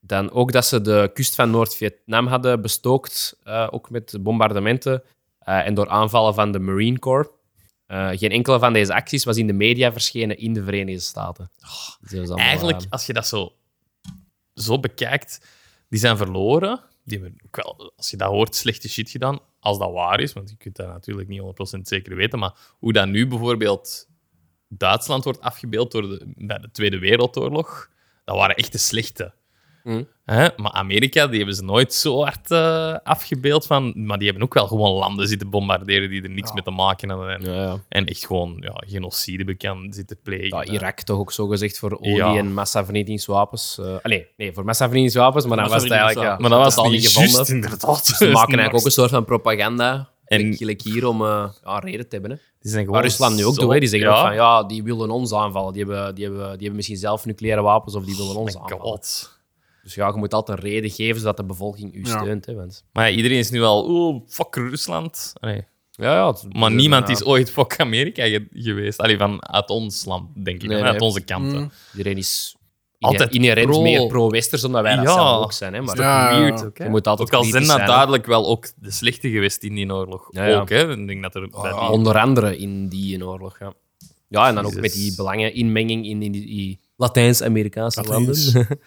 dan ook dat ze de kust van Noord-Vietnam hadden bestookt, eh, ook met bombardementen eh, en door aanvallen van de Marine Corps. Eh, geen enkele van deze acties was in de media verschenen in de Verenigde Staten. Dus dat was allemaal,
Eigenlijk,
eh,
als je dat zo, zo bekijkt, die zijn verloren. die hebben ook wel, als je dat hoort, slechte shit gedaan. Als dat waar is, want je kunt dat natuurlijk niet 100% zeker weten. Maar hoe dat nu bijvoorbeeld Duitsland wordt afgebeeld door de, bij de Tweede Wereldoorlog, dat waren echt de slechte.
Mm.
Hè? Maar Amerika, die hebben ze nooit zo hard eh, afgebeeld. Van, maar die hebben ook wel gewoon landen zitten bombarderen die er niks mee te maken hadden. En,
Ja, ja.
en echt gewoon ja, genocide bekend zitten plegen.
Ja, Irak toch ook zo gezegd voor olie
Ja.
en massavernietigingswapens. Eh allee, nee, voor massavernietigingswapens, maar dan Nou, was het eigenlijk... Ja,
Maar dat was
Massavernietigingswapens.
al niet gevonden.
juist, inderdaad.
Ze maken eigenlijk ook een soort van propaganda.
En-
En gelijk hier om eh, ja, reden te hebben. Hè.
Die zijn gewoon
Wat Rusland nu ook
zo-
doet, hè. die zeggen
ja.
ook van ja, die willen ons aanvallen. Die hebben, die, hebben, die hebben misschien zelf nucleaire wapens of die willen ons
Oh My
aanvallen.
God.
Dus ja, je moet altijd een reden geven zodat de bevolking u
Ja.
steunt. Hè, want...
Maar ja, iedereen is nu al, oh, fuck Rusland. Allee,
ja, ja, het-
Maar
dus,
niemand
ja,
is ooit fuck Amerika ge- geweest. Allee, vanuit ons land, denk ik.
Nee,
vanuit
nee.
onze kanten.
Iedereen is
Altijd
altijd inherent
pro-
meer pro-westers omdat wij dat
Ja.
zelf ook zijn. Hè, maar
Ja, ja, ja.
je moet altijd
Ook al zijn
kritisch
dat
zijn, hè.
duidelijk wel ook de slechte geweest in die oorlog.
Ja, ja.
Ook, hè. Ik denk dat er... bij die-
Ah, Onder andere in die in oorlog, ja. Ja, en dan ook
Jezus.
met die belangeninmenging in, in die, die Latijns-Amerikaanse landen.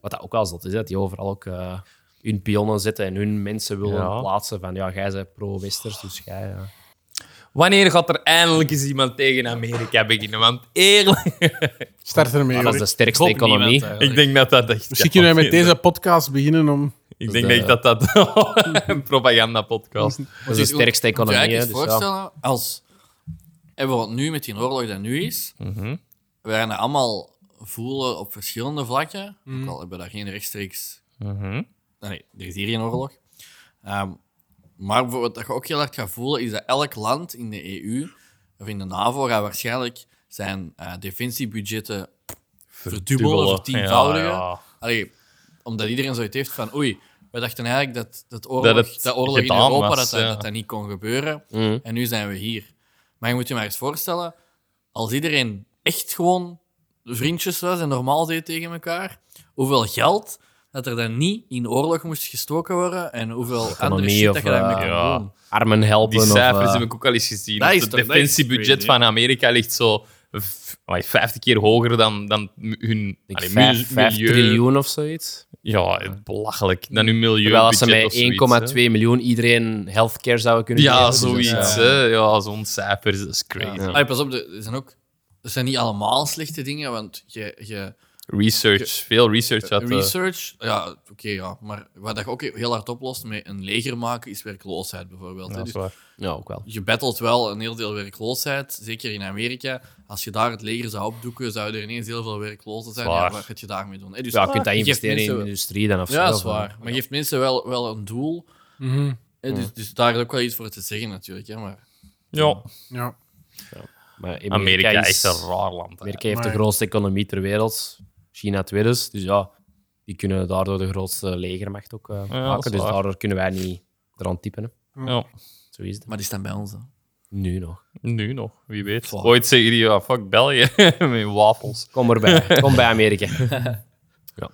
Wat dat ook wel zot is, hè, dat die overal ook eh, hun pionnen zetten en hun mensen willen
Ja.
plaatsen van ja, jij bent pro-westers, dus jij... ja.
Wanneer gaat er eindelijk eens iemand tegen Amerika beginnen? Want eerlijk...
Start ermee.
Maar dat is de
hoor.
sterkste
Ik hoop niemand,
economie.
hè.
Ik denk dat dat echt...
Misschien
ja,
kunnen we met
nee,
deze podcast beginnen om...
Ik denk echt dat dat... een propaganda-podcast.
dat is de sterkste economie.
Moet je
hè,
eigenlijk
dus
eens
ja.
voorstellen, als en wat nu met die oorlog dat nu is, we gaan dat allemaal voelen op verschillende vlakken. Ook al hebben we daar geen rechtstreeks... Ah, Nee, er is hier geen oorlog. Ehm, maar voor wat je ook heel hard gaat voelen, is dat elk land in de EU of in de NAVO gaat waarschijnlijk zijn eh, defensiebudgetten verdubbelen,
Dubbele.
vertienvoudigen.
Ja, ja.
Allee, omdat iedereen zoiets heeft van oei, we dachten eigenlijk dat, dat oorlog,
Dat
dat
het
oorlog in
gedaan
Europa
was,
dat, dat,
ja. Mm.
dat dat niet kon gebeuren. En nu zijn we hier. Maar je moet je maar eens voorstellen, als iedereen echt gewoon vriendjes was en normaal deed tegen elkaar, hoeveel geld dat er dan niet in oorlog moest gestoken worden en hoeveel andere
Economie
shit
of,
dat je daarmee
eh,
kon
ja.
doen.
Armen helpen.
Die cijfers
of, eh,
heb ik ook al eens gezien.
Oh, dat is
het
toch- dat is
defensiebudget
crazy,
van Amerika ligt zo v- allee, 50 keer hoger dan, dan m- hun
ik
allee,
vijf-
mil-
vijf
milieu.
triljoen of zoiets.
Ja, het belachelijk. Dan hun milieu.
Terwijl als ze met 1,2 miljoen iedereen healthcare zouden kunnen
Ja,
geven, dus dat
zoiets.
is, ja.
hè. Ja, zo'n cijfer dat is crazy.
Allee, pas op, er er zijn ook... Er zijn niet allemaal slechte dingen, want je, je,
Research, veel research
eh,
eh, uit de-
Research, ja, oké, ja. Maar wat dat je ook heel hard oplost met een leger maken, is werkloosheid bijvoorbeeld. hè.
Dat is
Dus
waar.
Ja, ook wel.
je battelt wel een heel deel werkloosheid, zeker in Amerika. Als je daar het leger zou opdoeken, zou er ineens heel veel werklozen zijn. Ja,
Zwaar.
wat gaat je daarmee doen? hè? Dus,
Ja, je kunt dat
je geeft
investeren in de
mensen-
industrie dan of zo.
Ja, dat is
of, eh,
waar. Maar je geeft mensen wel, wel een doel. hè, Dus, dus daar is ook wel iets voor te zeggen, natuurlijk. Hè? Maar
Ja,
Ja.
Maar Amerika,
Amerika
is,
is echt een raar land. hè.
Amerika heeft
Maar-
de grootste economie ter wereld. China tweede. Dus ja, die kunnen daardoor de grootste legermacht ook eh,
dat is
maken. Dus
waar.
daardoor kunnen wij niet eraan typen. Hè.
Ja.
Zo is het.
Maar die staan bij ons. hè.
Nu nog.
Nu nog, wie weet.
Fuck.
Ooit zeggen die, ja, fuck België, met wafels.
Kom erbij. Kom bij Amerika. ja.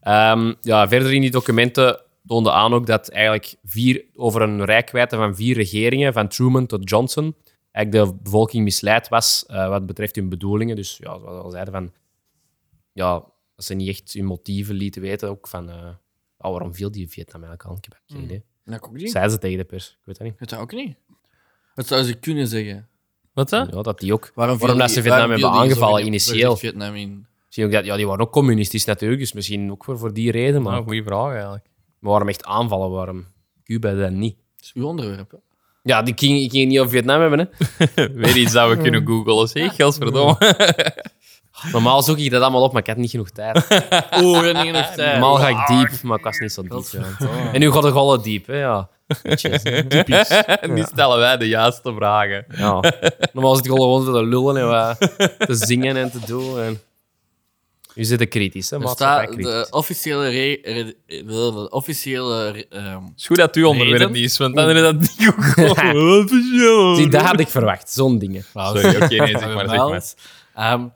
Ehm, ja, verder in die documenten toonde aan ook dat eigenlijk vier, over een rijkwijde van vier regeringen, van Truman tot Johnson, eigenlijk de bevolking misleid was eh, wat betreft hun bedoelingen. Dus ja, zoals we al zeiden, van, ja, dat ze niet echt hun motieven lieten weten. Ook van, eh, oh, waarom viel die Vietnam eigenlijk aan? Ik heb geen idee.
Dat ook niet.
Zeiden ze tegen de pers? Ik weet dat niet.
Dat ook niet. Wat zou ze kunnen zeggen?
Wat hè?
Ja, dat die ook.
Waarom,
Waarom dat ze Vietnam hebben aangevallen initieel?
Vietnam in.
Misschien ook dat, ja, die waren ook communistisch natuurlijk, dus misschien ook voor, voor die reden. Maar
Nou, goeie vraag eigenlijk.
Maar waarom echt aanvallen? Waarom Cuba dan niet?
Dat is uw onderwerp. hè.
Ja, die ging, ik ging het niet over Vietnam hebben. Hè.
Weer iets dat we kunnen googlen, zeg. Gelsverdomme.
Normaal zoek ik dat allemaal op, maar ik had niet genoeg tijd.
Oeh, dat is niet genoeg tijd.
Normaal ga ik diep, maar ik was niet zo diep. ja. En nu gaat de gollen diep, hè, ja.
En nu stellen wij de juiste vragen.
ja. Normaal zit ik gewoon te lullen en wat te zingen en te doen. En... Nu zit ik kritisch, hè,
Er
maar
staat
kritisch.
Dus de officiële, re- re- de officiële re- ehm,
Het is goed dat uw onderwerp
Reden?
niet is, want dan is dat niet goed.
Zie, dat had ik verwacht, zo'n dingen.
Ah, Sorry, oké, nee, zeg maar, zeg maar.
mails, ehm,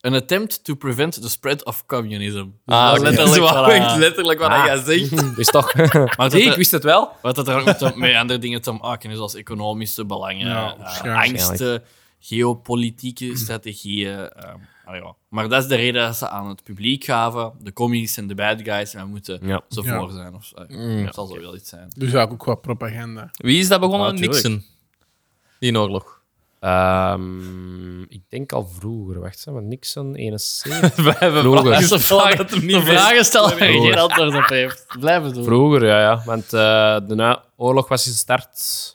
an attempt to prevent the spread of communism. Dus
Ah,
Dat
oké.
is
Dat is
letterlijk
wat-
wat, eh,
letterlijk wat
Ah.
jij zegt.
Dus toch...
wat
Zie, ik
dat,
wist het wel.
wat dat er ook met, te- met andere dingen te maken is, zoals economische belangen,
Ja,
eh,
waarschijnlijk.
angsten, geopolitieke strategieën. ehm. Ah, ja. Maar dat is de reden dat ze aan het publiek gaven. De commies en de bad guys. En we moeten
Ja.
zo
Ja. Mm.
voor zijn. Of, zo. Dat zal zo wel iets zijn.
Dus eigenlijk ook wat propaganda.
Wie is dat begonnen?
Ah, tuurlijk.
Nixon. Die in oorlog.
Ehm, ik denk al vroeger. Wacht, hè, want Nixon 71.
We hebben
Vroeger.
vragen
Dat is
de
gesteld
vraag-
dat hem niet
De
wist.
vragen stellen waar je geen antwoord op heeft. Blijven doen.
vroeger, ja, ja. Want eh, de na- oorlog was gestart.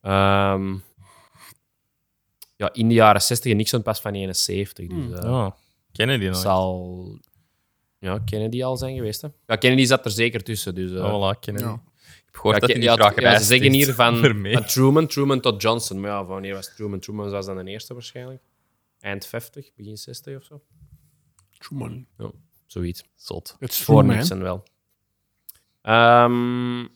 ehm, ja, in de jaren 60 en Nixon pas van 71. Dus, eh,
Oh, Ja, kennen die nog?
zal ja, Kennedy al zijn geweest. Hè? Ja, Kennedy zat er zeker tussen. Dus, eh,
Oh, voilà, kennen die.
Ja.
Ik heb gehoord
ja,
dat
Ke-
hij niet
ja,
graag
ja, ze
reist
zeggen
heeft.
hier van,
Vermeer.
van Truman, Truman tot Johnson. Maar ja, van wanneer was Truman? Truman was dan de eerste waarschijnlijk. Eind 50, begin 60 of zo.
Truman.
Zoiets.
Zot.
Het is
Voor
Truman.
Nixon wel. Ehm,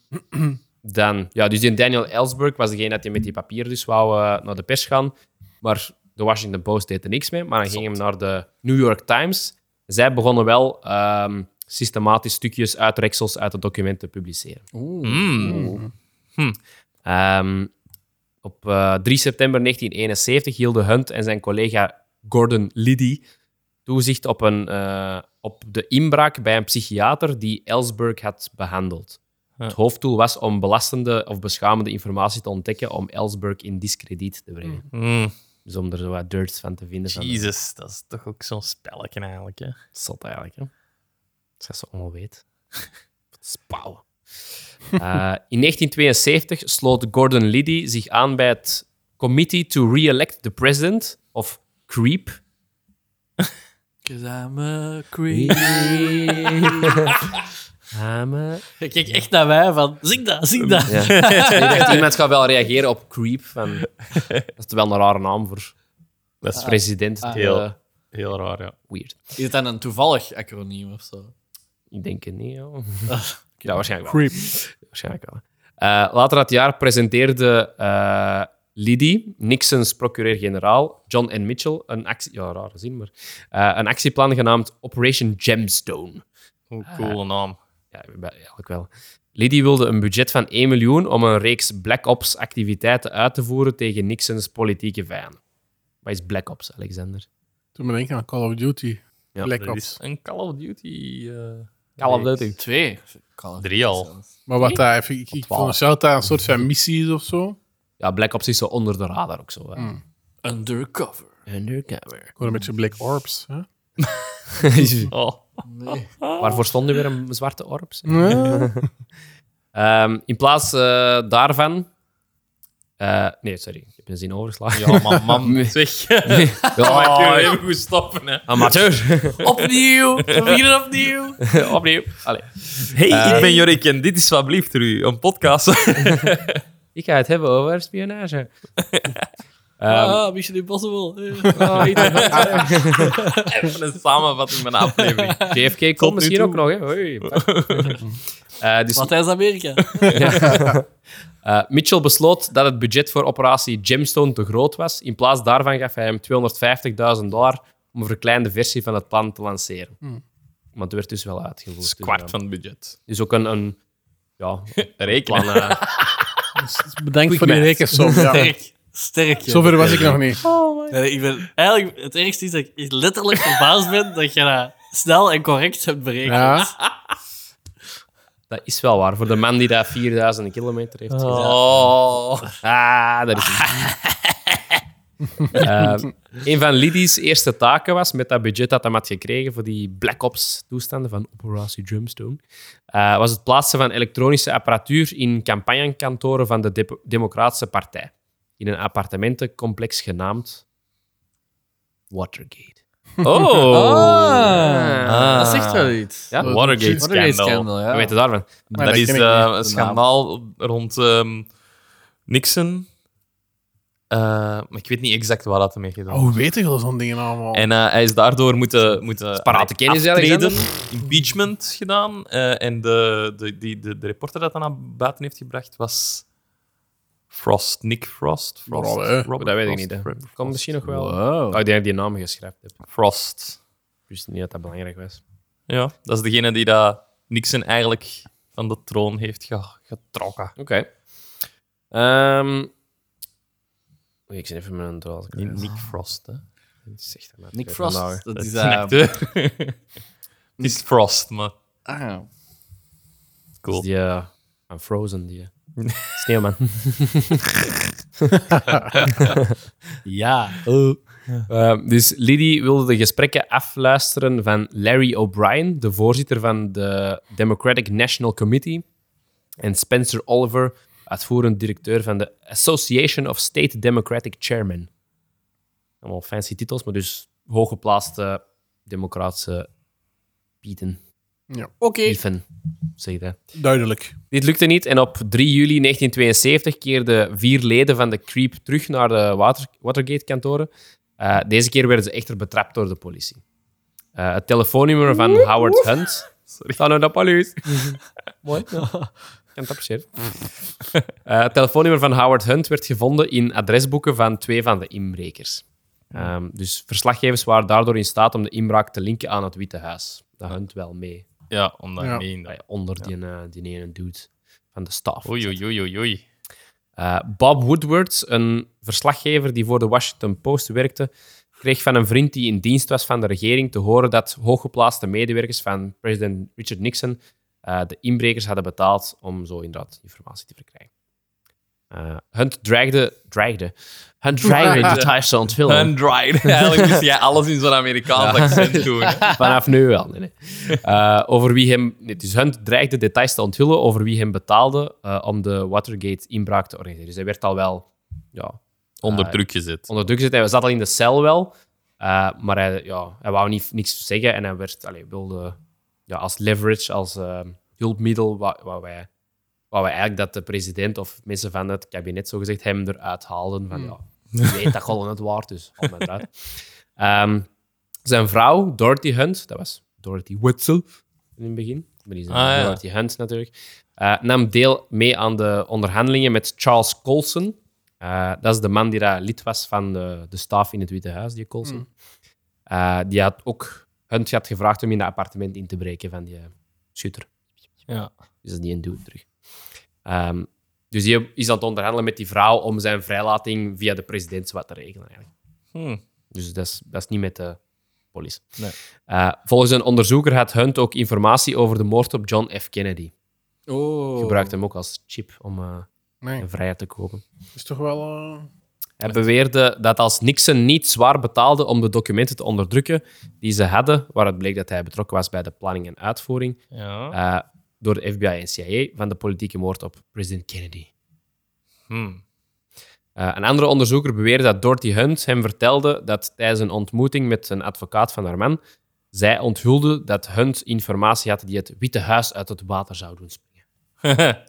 dan, ja, dus die Daniel Ellsberg was degene dat hij met die papier dus wou eh, naar de pers gaan. Maar de Washington Post deed er niks mee. Maar dan ging hem naar de New York Times. Zij begonnen wel ehm, systematisch stukjes uit reksels uit het document te publiceren. Hm. Ehm, op eh, 3 september 1971 hielden Hunt en zijn collega Gordon Liddy toezicht op, een, eh, op de inbraak bij een psychiater die Ellsberg had behandeld. Het hoofddoel was om belastende of beschamende informatie te ontdekken om Ellsberg in discrediet te brengen.
Mm.
Dus om er zo wat dirts van te vinden. Van,
Jezus, dat is toch ook zo'n spelletje eigenlijk, hè?
Zot eigenlijk, hè? Dus Als je ze allemaal weet. Wat spouwen. Eh, in 1972 sloot Gordon Liddy zich aan bij het Committee to Re-elect the President, of CREEP.
Cause I'm a creep.
Hamer.
Ik kijk echt naar mij van, zing dat, zing dat.
Ja. Ik dacht, iemand gaat wel reageren op CREEP. Van, dat is wel een rare naam voor
Dat is vrij
president.
ah.
heel
Heel. heel raar, ja.
weird.
Is het dan een toevallig acroniem of zo?
Ik denk het niet, joh. Ja, waarschijnlijk wel.
Creep.
Waarschijnlijk wel. Eh, later dat jaar presenteerde eh Liddy, Nixon's procureur-generaal, John N. Mitchell, een, actie, ja, rare zin, maar, eh, een actieplan genaamd Operation Gemstone.
Hoe coole naam.
Ja, bij- eigenlijk wel. Liddy wilde een budget van 1 miljoen om een reeks Black Ops-activiteiten uit te voeren tegen Nixon's politieke vijanden. Wat is Black Ops, Alexander?
Toen ben ik aan Call of Duty.
Ja,
Black
Dat
Ops.
is een Call of Duty. eh,
Call of
reeks.
Duty.
Twee. Call of Duty
Drie al.
zelfs.
Maar wat daar, even- ik, ik vond
twaalf.
het zelf dat dat een soort van missie is of zo.
Ja, Black Ops is zo onder de radar ook zo. hè.
Hmm.
Undercover.
Undercover.
Gewoon een beetje Black Orbs. Hè?
Oh.
Nee.
Waarvoor stond nu weer een zwarte orbs?
Ja.
Ehm, in plaats eh, daarvan. eh, nee, sorry, ik heb een zin overgeslagen. Oh,
Ja, maar man, zeg. Oh,
Ja,
even goed stoppen, hè.
amateur.
Opnieuw. We beginnen opnieuw.
Opnieuw. Allee.
Hey, ik ben Jorik en dit is Wat blieft er u, een podcast.
Ik ga het hebben over spionage.
ah, Mission Impossible. Eh.
even een samenvatting van de aflevering.
JFK
Tot nu
komt misschien
toe.
ook nog. Hè. Hoi, pak. Eh, dus
Latijns-Amerika.
Eh, Mitchell besloot dat het budget voor operatie Gemstone te groot was. In plaats daarvan gaf hij hem 250.000 dollar om een verkleinde versie van het plan te lanceren. Maar het werd dus wel uitgevoerd.
Dat is
Dus, ja.
kwart van het budget.
Dus ook een, een ja,
Rekenen.
plan. eh,
Bedankt voor die rekensom. Ja.
Sterk. Sterk, joh.
Zover was ik nog niet.
Nee, ik ben, eigenlijk, het ergste is dat ik echt letterlijk verbaasd ben dat je dat snel en correct hebt berekend.
Ja.
dat is wel waar. Voor de man die daar 4000 kilometer heeft gezet.
Oh.
Ah, dat is hem. Eh, een van Liddy's eerste taken was, met dat budget dat hij had gekregen voor die Black Ops-toestanden van Operatie Drumstone, eh, was het plaatsen van elektronische apparatuur in campagnekantoren van de Dep- Democratische Partij. In een appartementencomplex genaamd Watergate.
Oh. Ah.
Dat zegt wel iets.
Ja?
Watergate
Watergate
scandal.
scandal,
Wat
ja.
weet je daarvan?
dat
Maar dat
is
ken ik
eh,
niet.
een schandaal rond ehm, Nixon. Eh, maar ik weet niet exact waar dat mee gedaan.
Oh, hoe weet ik al zo'n dingen allemaal?
En eh, hij is daardoor moeten, moeten
parate kennis, hè,
aftreden,
Alexander?
impeachment gedaan. Eh, en de, de, die, de, de reporter dat dan naar buiten heeft gebracht was Frost, Nick Frost. Frost
Vooral, hè.
Robert
Dat weet ik
Frost,
niet. hè.
Robert
Komt
Frost.
misschien nog wel.
Wow.
Oh, ik denk dat ik die naam geschreven heb.
Frost.
Ik wist niet dat dat belangrijk was.
Ja, dat is degene die dat Nixon eigenlijk van de troon heeft ge- getrokken.
Oké. Ehm, oei, ik zit even mijn draad.
Niet Nick Frost, hè.
Het is echt een
Nick Frost.
vandaag.
Dat
Dat
is,
is
eh,
echt, hè. Het is Frost, maar
ah, ja.
cool.
Die eh, van Frozen, die eh, sneeuwman.
ja.
Eh, dus Liddy wilde de gesprekken afluisteren van Larry O'Brien, de voorzitter van de Democratic National Committee, en Spencer Oliver, uitvoerend directeur van de Association of State Democratic Chairmen. Allemaal fancy titels, maar dus hooggeplaatste democratische pieten,
Oké.
dieven, zeg je dat.
Duidelijk.
Dit lukte niet en op 3 juli 1972 keerden vier leden van de Creep terug naar de Water- Watergate-kantoren. Eh, deze keer werden ze echter betrapt door de politie. Eh, het telefoonnummer van Howard Hunt. Sorry. Van de police. Mooi. Kan het appreciëren. Eh, het telefoonnummer van Howard Hunt werd gevonden in adresboeken van twee van de inbrekers. Ehm, dus verslaggevers waren daardoor in staat om de inbraak te linken aan het Witte Huis. Dat Hunt wel mee.
Ja, om daar
Ja.
mee in.
Bij
te-
onder die, eh, die ene dude van de staf.
Oei, oei, oei, oei, oei.
Eh, Bob Woodward, een verslaggever die voor de Washington Post werkte, kreeg van een vriend die in dienst was van de regering te horen dat hooggeplaatste medewerkers van president Richard Nixon eh, de inbrekers hadden betaald om zo inderdaad informatie te verkrijgen. Eh, Hunt dreigde... dreigde. Hunt dreigde de Thaise onthulling.
Handried. Eigenlijk moest jij alles in zo'n Amerikaans accent doen. hè.
Vanaf nu wel. Nee, nee. Eh, over wie hem, nee, dus Hunt dreigde details te onthullen over wie hem betaalde eh, om de Watergate-inbraak te organiseren. Dus hij werd al wel ja,
Onder druk gezet.
onder druk gezet. Hij zat al in de cel wel, eh, maar hij, ja, hij wou niet, niks zeggen en hij werd, allee, wilde ja, als leverage, als eh, hulpmiddel, wou, wou hij, wou hij eigenlijk dat de president of mensen van het kabinet zogezegd hem eruit haalden. Van, ja, je weet dat gewoon het waard, dus haal mij eruit. Ehm, zijn vrouw, Dorothy Hunt, dat was Dorothy Wetzel in het begin, maar die is
Ah, ja.
Dorothy Hunt natuurlijk, eh, nam deel mee aan de onderhandelingen met Charles Colson. Eh, dat is de man die daar lid was van de, de staf in het Witte Huis, die Colson.
Hmm.
Eh, die had ook Hunt had gevraagd om in dat appartement in te breken van die eh, schutter.
Ja.
Dus dat is die een dude terug. Ehm, dus die is aan het onderhandelen met die vrouw om zijn vrijlating via de president wat te regelen. Eigenlijk.
Hm.
Dus dat is, dat is niet met de police.
Nee.
Eh, volgens een onderzoeker had Hunt ook informatie over de moord op John F. Kennedy.
Oh.
Gebruikte hem ook als chip om eh,
Nee,
een vrijheid te kopen.
dat is toch wel... eh,
Hij beweerde dat als Nixon niet zwaar betaalde om de documenten te onderdrukken die ze hadden, waaruit bleek dat hij betrokken was bij de planning en uitvoering
Ah, Ja.
eh, door de FBI en CIA van de politieke moord op president Kennedy.
Hm.
Eh, een andere onderzoeker beweerde dat Dorothy Hunt hem vertelde dat tijdens een ontmoeting met een advocaat van haar man, zij onthulde dat Hunt informatie had die het Witte Huis uit het water zou doen springen.
oké.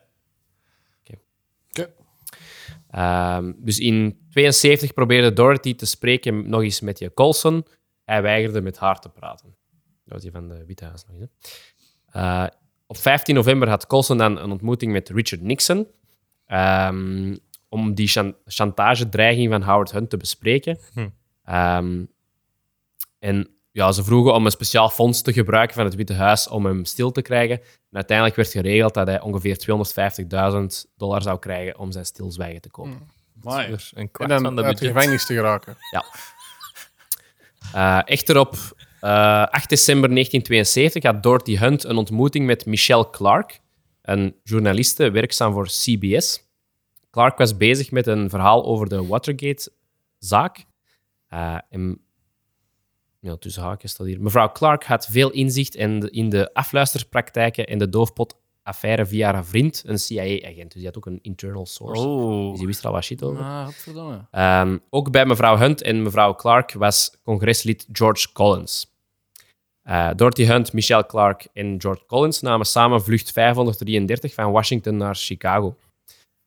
Ehm, dus in 72 probeerde Dorothy te spreken nog eens met je Colson. Hij weigerde met haar te praten. Dat was die van de Witte Huis nog eens. hè. Eh, op 15 november had Colson dan een ontmoeting met Richard Nixon. ehm, om die chan- chantagedreiging van Howard Hunt te bespreken. Ehm, en ja, ze vroegen om een speciaal fonds te gebruiken van het Witte Huis om hem stil te krijgen. En uiteindelijk werd geregeld dat hij ongeveer 250.000 dollar zou krijgen om zijn stilzwijgen te kopen.
Dat is weer Dus Een
En
kwart van
dan
de
uit de
budget.
gevangenis te geraken.
Eh, echter op eh, 8 december 1972 had Dorothy Hunt een ontmoeting met Michelle Clark, een journaliste werkzaam voor CBS. Clark was bezig met een verhaal over de Watergate-zaak. Eh, en, ja, tussen haakjes staat hier. Mevrouw Clark had veel inzicht in de, in de afluisterpraktijken en de doofpot-affaire via haar vriend, een CIA-agent. Dus die had ook een internal source. Dus
Oh.
die wist er al wat shit over.
Ah, godverdomme.
Ehm, ook bij mevrouw Hunt en mevrouw Clark was congreslid George Collins. Eh, Dorothy Hunt, Michelle Clark en George Collins namen samen vlucht 533 van Washington naar Chicago.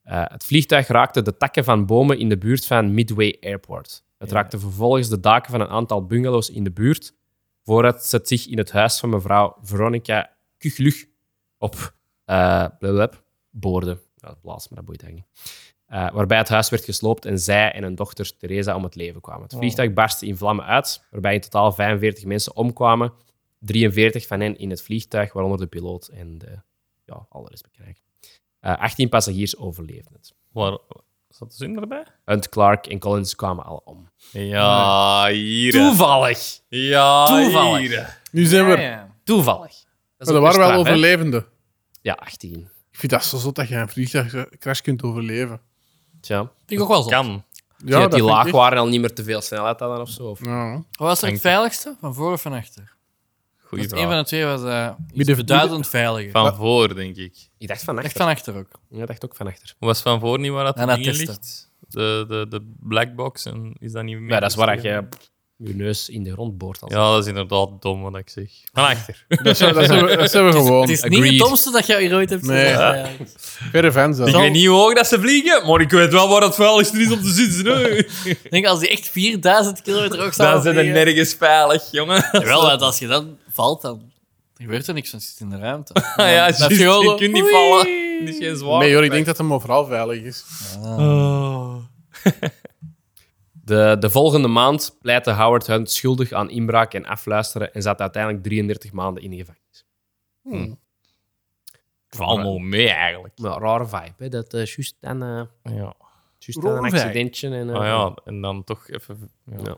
Eh, het vliegtuig raakte de takken van bomen in de buurt van Midway Airport. Het raakte vervolgens de daken van een aantal bungalows in de buurt, voordat ze het zich in het huis van mevrouw Veronica Kuglug op eh blablab, boorde. Ja, dat plaats, maar dat boeit eigenlijk niet. Eh, waarbij het huis werd gesloopt en zij en hun dochter Theresa om het leven kwamen. Het vliegtuig barstte in vlammen uit, waarbij in totaal 45 mensen omkwamen. 43 van hen in het vliegtuig, waaronder de piloot en de, ja, alle rest bekijken. Eh 18 passagiers overleefden het.
Waar, Zat de zin erbij?
Hunt, Clark en Collins kwamen alle om.
Ja, hier. hè.
Toevallig.
Ja,
Toevallig.
hier, hè.
Nu zijn we... er. Maar
Toevallig. Dat, is
er
ook
waren
best
wel
straf, hè?
overlevenden.
Ja, 18.
Ik vind dat zo zot dat je een vliegtuigcrash kunt overleven.
Tja.
Vind ik ook wel zo.
Kan.
Ja,
dat
die
vind ik
laag
echt-
waren al niet meer te veel snelheid hadden of zo. Of...
Ja.
Wat was er het
Dank.
veiligste? Van voor of van achter?
Goeie
Een van
vraag.
de twee was eh
Midden-
iets beduidend veiliger.
Van voor, denk ik.
Ik dacht van
Echt
achter.
van achter ook.
Ja, Ik dacht ook van achter.
Was van voor niet waar dat
En dat
het ding
testen.
ligt? De, de, de black box en is dat niet meer?
Ja, dat is waar dat je je neus in de grond boort. Als...
Ja, dat is inderdaad dom wat ik zeg. Van achter.
Dat zijn, dat zijn we, dat zijn we gewoon.
Het is niet het
Agreed.
domste dat jij hier ooit hebt
Nee.
gezegd. eigenlijk.
Verre fans.
Ik weet niet hoe hoog dat ze vliegen, maar ik weet wel waar het vuil is er is om te zitten. hè.
Ik denk, als die echt 4000 kilometer ook zou
Dan zijn ze
vliegen-
nergens veilig, jongen.
Jawel,
Wel,
dat
want als je dan valt, dan gebeurt er niks, want je zit in de ruimte.
Ja, ja, juist,
is gewoon
je
zo,
kunt niet
oei.
vallen. Het is geen zwaar.
Nee, joh, ik denk dat hem overal veilig is.
De, de volgende maand pleitte Howard Hunt schuldig aan inbraak en afluisteren en zat uiteindelijk 33 maanden in de gevangenis.
Hmm.
Hmm.
allemaal mee eigenlijk.
Maar rare vibe, hè? dat eh juist dan, eh,
Ja.
juist dan een
Rare vibe.
accidentje. En, eh,
Ah ja, en dan toch even. Ja.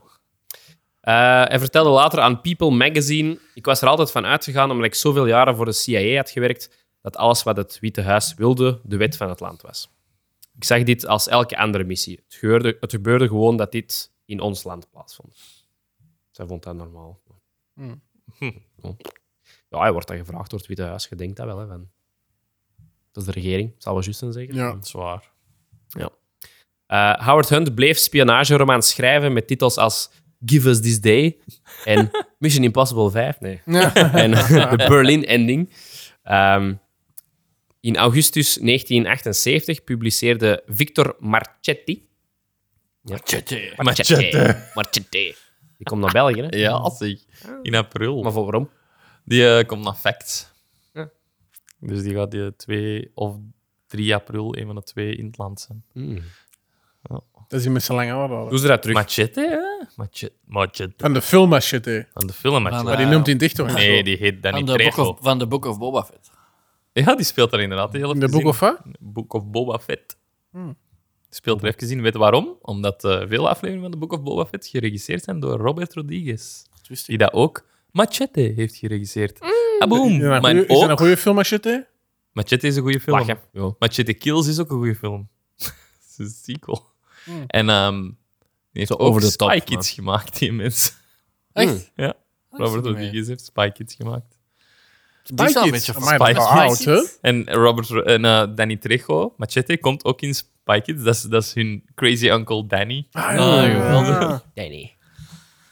Eh, hij vertelde later aan People Magazine: Ik was er altijd van uitgegaan, omdat ik zoveel jaren voor de CIA had gewerkt, dat alles wat het Witte Huis wilde, de wet van het land was. Ik zag dit als elke andere missie. Het gebeurde, het gebeurde gewoon dat dit in ons land plaatsvond. Zij vond dat normaal.
Hmm.
Ja. Ja, hij wordt dan gevraagd door het Witte Huis. Je denkt dat wel, hè? Van... Dat is de regering, zal wel juist zijn zeker.
Ja.
Dat is waar.
Eh, Howard Hunt bleef spionageromans schrijven met titels als Give Us This Day en Mission Impossible 5. Nee. en eh, de Berlin Ending. Ehm, in augustus 1978 publiceerde Victor Marchetti. Ja.
Tjetje.
Marchetti. Marchetti. Die komt naar België, hè?
Ja, zeg. In april.
Maar voor waarom?
Die eh, komt naar Facts.
Ja.
Dus die gaat die 2 of 3 april, een van de twee, in het land zijn.
Hmm.
Dat is die met zijn lange oren.
Doe ze dat terug.
Machete, hè? Machete. Machete.
Van de film als shit, hè.
Van de film
Van,
Machete.
Maar die
eh,
noemt hij dicht toch niet
Nee,
zo?
die heet
van,
Danny
de Book
Trejo.
of, van de Book of Boba Fett.
Ja, die speelt daar inderdaad heel
In de Book of Hmm. What?
Book of Boba Fett. Speelt er even in. Weet je waarom? Omdat eh, veel afleveringen van de Book of Boba Fett geregisseerd zijn door Robert Rodriguez.
wist ik.
Die dat ook Machete heeft geregisseerd. Ah, boom.
Is dat een
Maar
goeie- is dat
ook...
een goede film als eh, shit, hè?
Machete is een goede film.
Lachen. Ja.
Machete Kills is ook een goede film. Het is een sequel. En ehm die heeft ook
over de top,
Spy
man.
Kids gemaakt, die mens.
Echt?
Ja. Robert
niet mee.
Rodriguez heeft Spy Kids gemaakt.
Die is wel een beetje
Amai, dat
Spy
is wel
Kids.
oud, hè?
En Robert Ro- en, eh, Danny Trejo, Machete, komt ook in Spy Kids. Dat is, dat is hun Crazy Uncle Danny.
Ah,
Nee, nee.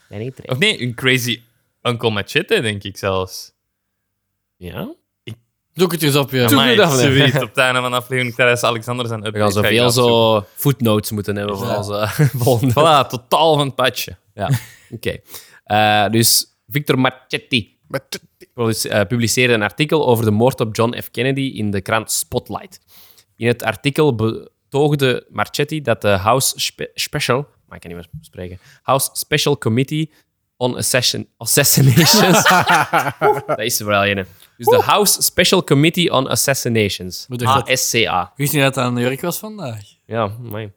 Nee, nee, terug.
Of nee, hun Crazy Uncle Machete, denk ik zelfs.
Ja?
Doe het eens op, je.
Amai,
dat wel.
zoiets. Op het einde van de aflevering, Thijs Alexander zijn
We gaan zoveel zo footnotes moeten hebben voor onze volgende
Voilà, totaal van het padje.
Ja, oké. Eh, dus Victor Marchetti
Maar t-
produce- eh, publiceerde een artikel over de moord op John F. Kennedy in de krant Spotlight. In het artikel betoogde Marchetti dat de House Spe- Special, maar ik kan niet meer spreken, House Special Committee on Assassin- Assassinations. dat is er wel een. Dus de House Special Committee on Assassinations,
Moet ik dat-
HSCA.
Wist niet dat dat aan de jurk was vandaag?
Ja, amai.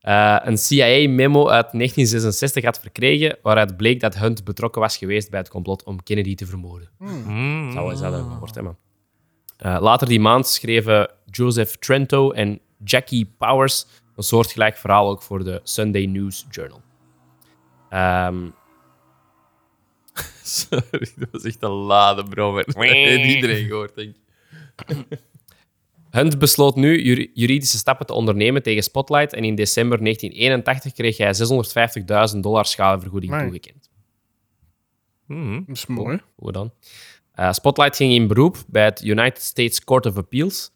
Eh, een CIA-memo uit 1966 had verkregen, waaruit bleek dat Hunt betrokken was geweest bij het complot om Kennedy te vermoorden. Zou wel eens dat hebben gehoord, hè, man. Eh, later die maand schreven Joseph Trento en Jackie Powers een soortgelijk verhaal ook voor de Sunday News Journal. Ehm,
Sorry, dat was echt een lade, bro. maar Dat heeft iedereen gehoord, denk ik.
Hunt besloot nu jur- juridische stappen te ondernemen tegen Spotlight en in december 1981 kreeg hij 650.000 dollar schadevergoeding
Amai.
toegekend.
Dat is mooi.
Hoe dan? Eh, Spotlight ging in beroep bij het United States Court of Appeals.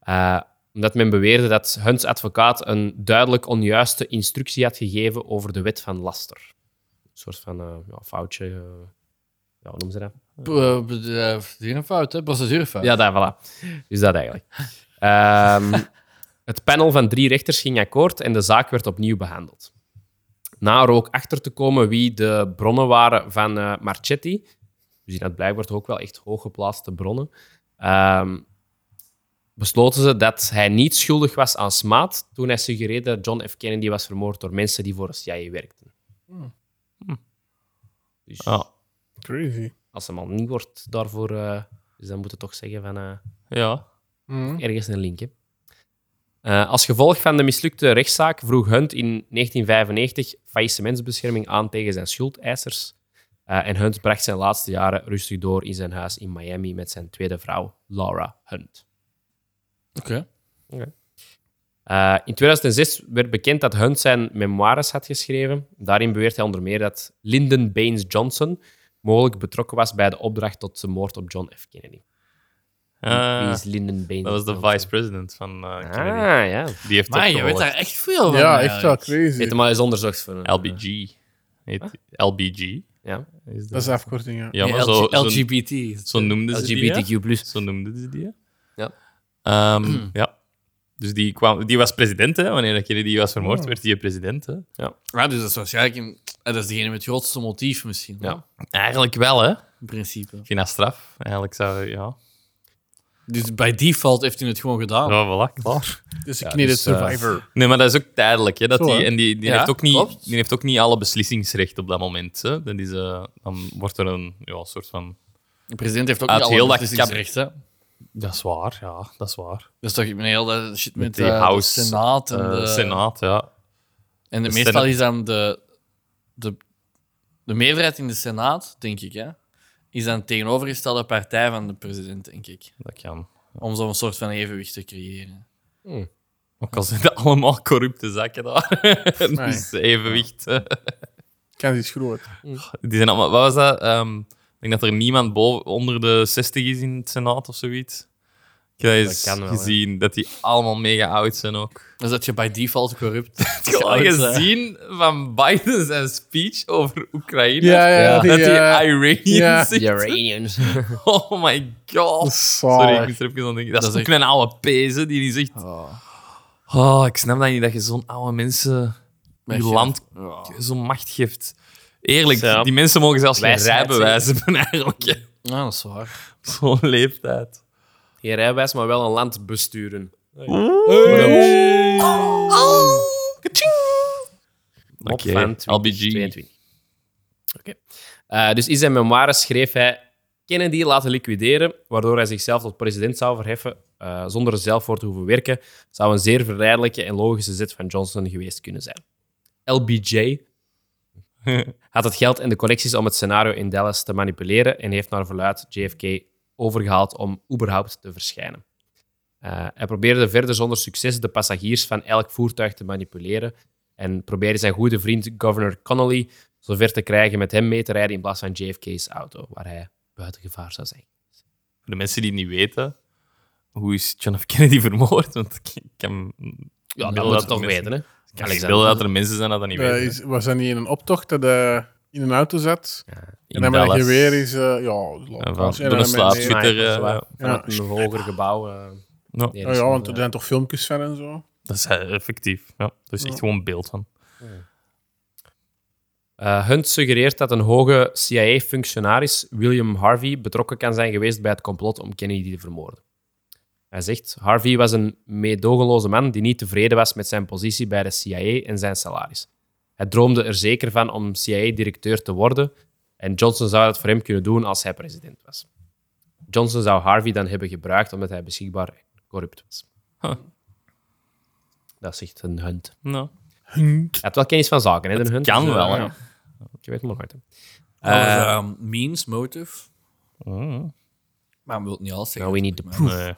eh, omdat men beweerde dat Hunts advocaat een duidelijk onjuiste instructie had gegeven over de wet van laster. Een soort van eh, ja, foutje. eh, ja, hoe noemen ze dat?
Verdien een fout, hè? Procedurefout.
Ja, daar, voilà. Dus dat eigenlijk. Ehm, het panel van drie rechters ging akkoord en de zaak werd opnieuw behandeld. Na er ook achter te komen wie de bronnen waren van eh, Marchetti, dus in dat blijkbaar toch ook wel echt hooggeplaatste bronnen, ehm, besloten ze dat hij niet schuldig was aan smaad toen hij suggereerde dat John F. Kennedy was vermoord door mensen die voor de CIA werkten. Hm. Dus
Ja.
Crazy.
als hem al niet wordt daarvoor, eh, dus dan moet het toch zeggen van eh,
Ja.
Mm.
ergens een link. Hè? Eh, als gevolg van de mislukte rechtszaak vroeg Hunt in 1995 faillissementsbescherming aan tegen zijn schuldeisers. Eh, en Hunt bracht zijn laatste jaren rustig door in zijn huis in Miami met zijn tweede vrouw, Laura Hunt.
Oké.
Uh, in 2006 werd bekend dat Hunt zijn memoires had geschreven. Daarin beweert hij onder meer dat Lyndon Baines Johnson mogelijk betrokken was bij de opdracht tot de moord op John F. Kennedy. Wie
Eh,
is Lyndon Baines
dat was de
Johnson?
vice-president van eh, Kennedy.
Ah, ja.
Die heeft
Maar
dat
je weet daar
gevolgd.
echt veel van.
Ja, echt
eigenlijk.
wel crazy.
Zit hem maar eens onderzocht voor een-
LBG. Heet LBG.
Ja.
Is
Dat is de afkorting, ja.
Ja, maar
Die
zo,
LG-
zo,
LGBT.
zo noemden ze die. hè?
LGBTQ+.
Zo noemden ze die. hè?
Ja.
Ehm, ja. Dus die, kwam, die was president, hè? Wanneer dat Kennedy was vermoord, werd hij president, hè?
Ja, dus dat is waarschijnlijk een, eh, dat is degene met het grootste motief misschien.
Ja.
Ja.
Eigenlijk wel, hè?
In principe.
Geen straf. Eigenlijk zou... Ja.
Dus bij default heeft hij het gewoon gedaan.
Ja, voilà, klaar.
Dus ik
Ja,
kneed
dus,
het
eh,
survivor.
Nee, maar dat is ook tijdelijk. Hè, dat
Zo,
die,
hè?
en die, die,
Ja,
heeft ook niet,
klopt.
die heeft ook niet alle beslissingsrecht op dat moment. Hè. Dat is, eh, dan wordt er een ja, soort van...
De president heeft ook
Uit
niet alle
heel dat
beslissingsrecht, hè.
Dat is waar, ja. Dat is waar.
Dat is toch een heel dat shit met,
die
eh, de
House,
Senaat.
Eh,
En de,
Senaat, ja.
En de
de
meestal
Senate.
is dan de, de, de meerderheid in de Senaat, denk ik, hè, is dan de tegenovergestelde partij van de president, denk ik.
Dat kan.
Om zo'n soort van evenwicht te creëren.
Ook al zijn dat allemaal corrupte zakken daar. dus evenwicht. eh.
Kans is groot.
Die zijn allemaal... Wat was dat? Ehm, ik denk dat er niemand boven, onder de 60 is in het Senaat of zoiets. Ik heb dat eens
kan wel, hè.
gezien dat die allemaal mega oud zijn ook.
Dus dat je bij default corrupt
Ik heb al
eh,
gezien van Biden zijn speech over Oekraïne.
Ja, eh, ja, ja.
Dat die
ja.
Iranians
Ja.
zitten.
Iranians.
Oh my god.
Zalig.
Sorry, ik moest er even aan denken. Dat, is ook een oude pezen die die zegt... Oh, ik snap dat niet, dat je zo'n oude mensen je land zo'n macht geeft. Eerlijk,
Ja.
die mensen mogen zelfs geen
Wijsheid,
rijbewijs hebben eigenlijk. hè.
Ja, dat is waar.
Op Zo'n leeftijd.
Geen rijbewijs, maar wel een land besturen. Mop
Oké,
van 2022.
LBG.
Oké. Eh, dus in zijn memoires schreef hij Kennedy laten liquideren, waardoor hij zichzelf tot president zou verheffen eh, zonder er zelf voor te hoeven werken, zou een zeer verleidelijke en logische zet van Johnson geweest kunnen zijn. LBJ had het geld en de connecties om het scenario in Dallas te manipuleren en heeft naar verluid JFK overgehaald om überhaupt te verschijnen. Eh, hij probeerde verder zonder succes de passagiers van elk voertuig te manipuleren en probeerde zijn goede vriend Governor Connolly zover te krijgen met hem mee te rijden in plaats van JFK's auto, waar hij buiten gevaar zou zijn.
Voor de mensen die het niet weten, hoe is John F. Kennedy vermoord? Want ik ik kan...
Ja, dat
beelden
moet je
dat
toch
er mensen-
weten, hè?
Ik kan niet beelden dat er mensen zijn dat dat niet
Eh,
weten.
is- was dat niet in een optocht dat hij in een auto zat?
In
en dan met een
Dallas.
geweer is... eh, ja,
Ja,
laat
van,
maar. En
door
dan
een
met-
slaapschutter.
Sniper,
eh,
zo,
ja.
Vanuit een hoger gebouw. eh,
Ja.
nee,
Ja,
dat is
Oh, ja,
nog,
want er
eh,
zijn toch filmpjes van en zo.
Dat is eh, effectief. Ja. Er is echt gewoon beeld van.
Eh, Hunt suggereert dat een hoge CIA-functionaris, William Harvey, betrokken kan zijn geweest bij het complot om Kennedy te vermoorden. Hij zegt, Harvey was een meedogenloze man die niet tevreden was met zijn positie bij de CIA en zijn salaris. Hij droomde er zeker van om CIA-directeur te worden en Johnson zou dat voor hem kunnen doen als hij president was. Johnson zou Harvey dan hebben gebruikt omdat hij beschikbaar en corrupt was.
Huh.
Dat zegt een Hunt.
Nou,
Hij had wel kennis van zaken, hè, de Hunt.
kan
Dus, eh,
wel, hè.
ja. Je weet het maar nooit, hè.
Eh,
Alles, ehm, means, motive.
Mm.
Maar we willen niet alles zeggen.
Nou, we need the
Maar-
proof.
Nee.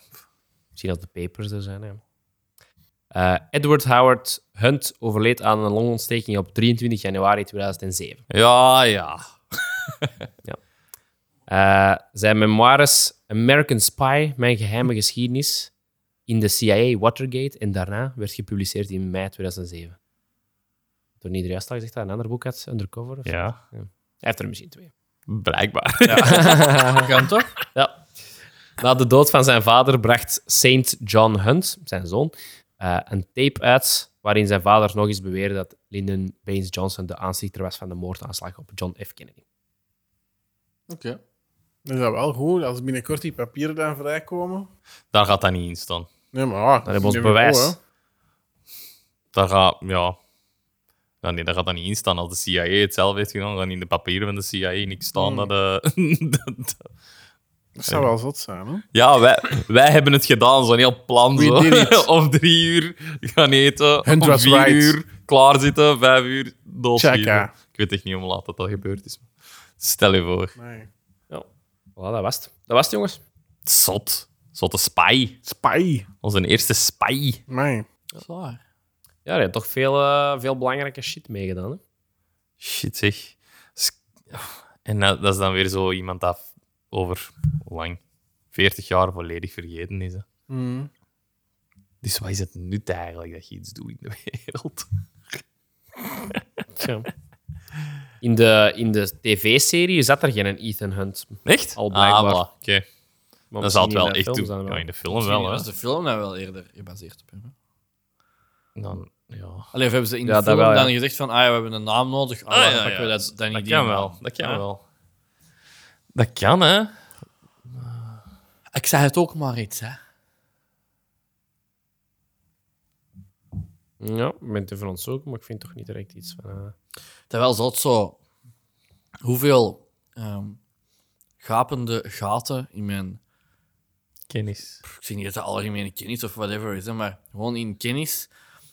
Misschien dat de papers er zijn. Hè. Eh, Edward Howard Hunt overleed aan een longontsteking op 23 januari 2007.
Ja, ja.
Eh, zijn memoires American Spy, Mijn geheime geschiedenis, in de CIA Watergate en daarna werd gepubliceerd in mei 2007. Toen iedereen juist al gezegd dat hij een ander boek had, Undercover. Of zo.
Ja,
Hij heeft er misschien twee.
blijkbaar.
Kan toch?
Ja. Na de dood van zijn vader bracht Saint John Hunt, zijn zoon, eh, een tape uit waarin zijn vader nog eens beweerde dat Lyndon Baines Johnson de aanstichter was van de moordaanslag op John F. Kennedy.
Oké.
Dat is dat wel goed, als binnenkort die papieren dan vrijkomen.
Daar gaat dat niet in staan.
Nee, maar ja,
Dat hebben we
is
ons
nu weer
bewijs.
goed,
Daar gaat, ja. Ja, nee, daar gaat dat niet in staan. Als de CIA het zelf heeft gedaan, dan in de papieren van de CIA niks staan.
Hmm.
Dat, eh, dat-
hè. Dat zou wel zot zijn, hè?
Ja, wij, wij hebben het gedaan. Zo'n heel plan.
We
Zo.
did it.
Om drie uur gaan eten.
Hunt
om
was
vier
right.
uur klaarzitten. Vijf uur doodschieten.
Tjaka.
Ik weet echt niet hoe laat dat, dat gebeurd is. Stel je voor.
Nee.
Voilà, dat was het. Dat was het, jongens.
Zot. Zotte spy.
Spy.
Onze eerste spy.
Nee.
Dat is waar.
Ja, je hebt toch veel, eh, veel belangrijke shit meegedaan. Hè?
Shit, zeg. S- En dat, dat is dan weer zo iemand dat over hoe lang 40 jaar volledig vergeten is. Hè.
Mm.
Dus wat is het nut eigenlijk dat je iets doet in de wereld?
Tja. In de, in de tv-serie zat er geen Ethan Hunt.
Echt?
Al blijkbaar.
Ah, voilà. Oké.
Maar
Dat zal het
misschien
wel
in de
echt
films
doen.
dan wel.
Ja, in de film wel,
Dat is
hè.
de film dan wel eerder gebaseerd op hem. hè?
Dan, ja.
Allee, of hebben ze in de
Ja, dat
film
wel, ja.
dan gezegd van, ah ja, we hebben een naam nodig. Ah,
Ah,
dan
ja,
pakken we
ja.
dat, dan
Dat
niet
kan wel. Dat kan wel. Dat kan, hè?
Ik zei het ook maar iets, hè.
Ja, ik ben te van ons zoeken, maar ik vind toch niet direct iets van... eh,
Terwijl zat zo hoeveel ehm, gapende gaten in mijn,
Kennis.
ik zeg niet dat het algemene kennis of whatever is, hè, maar gewoon in kennis.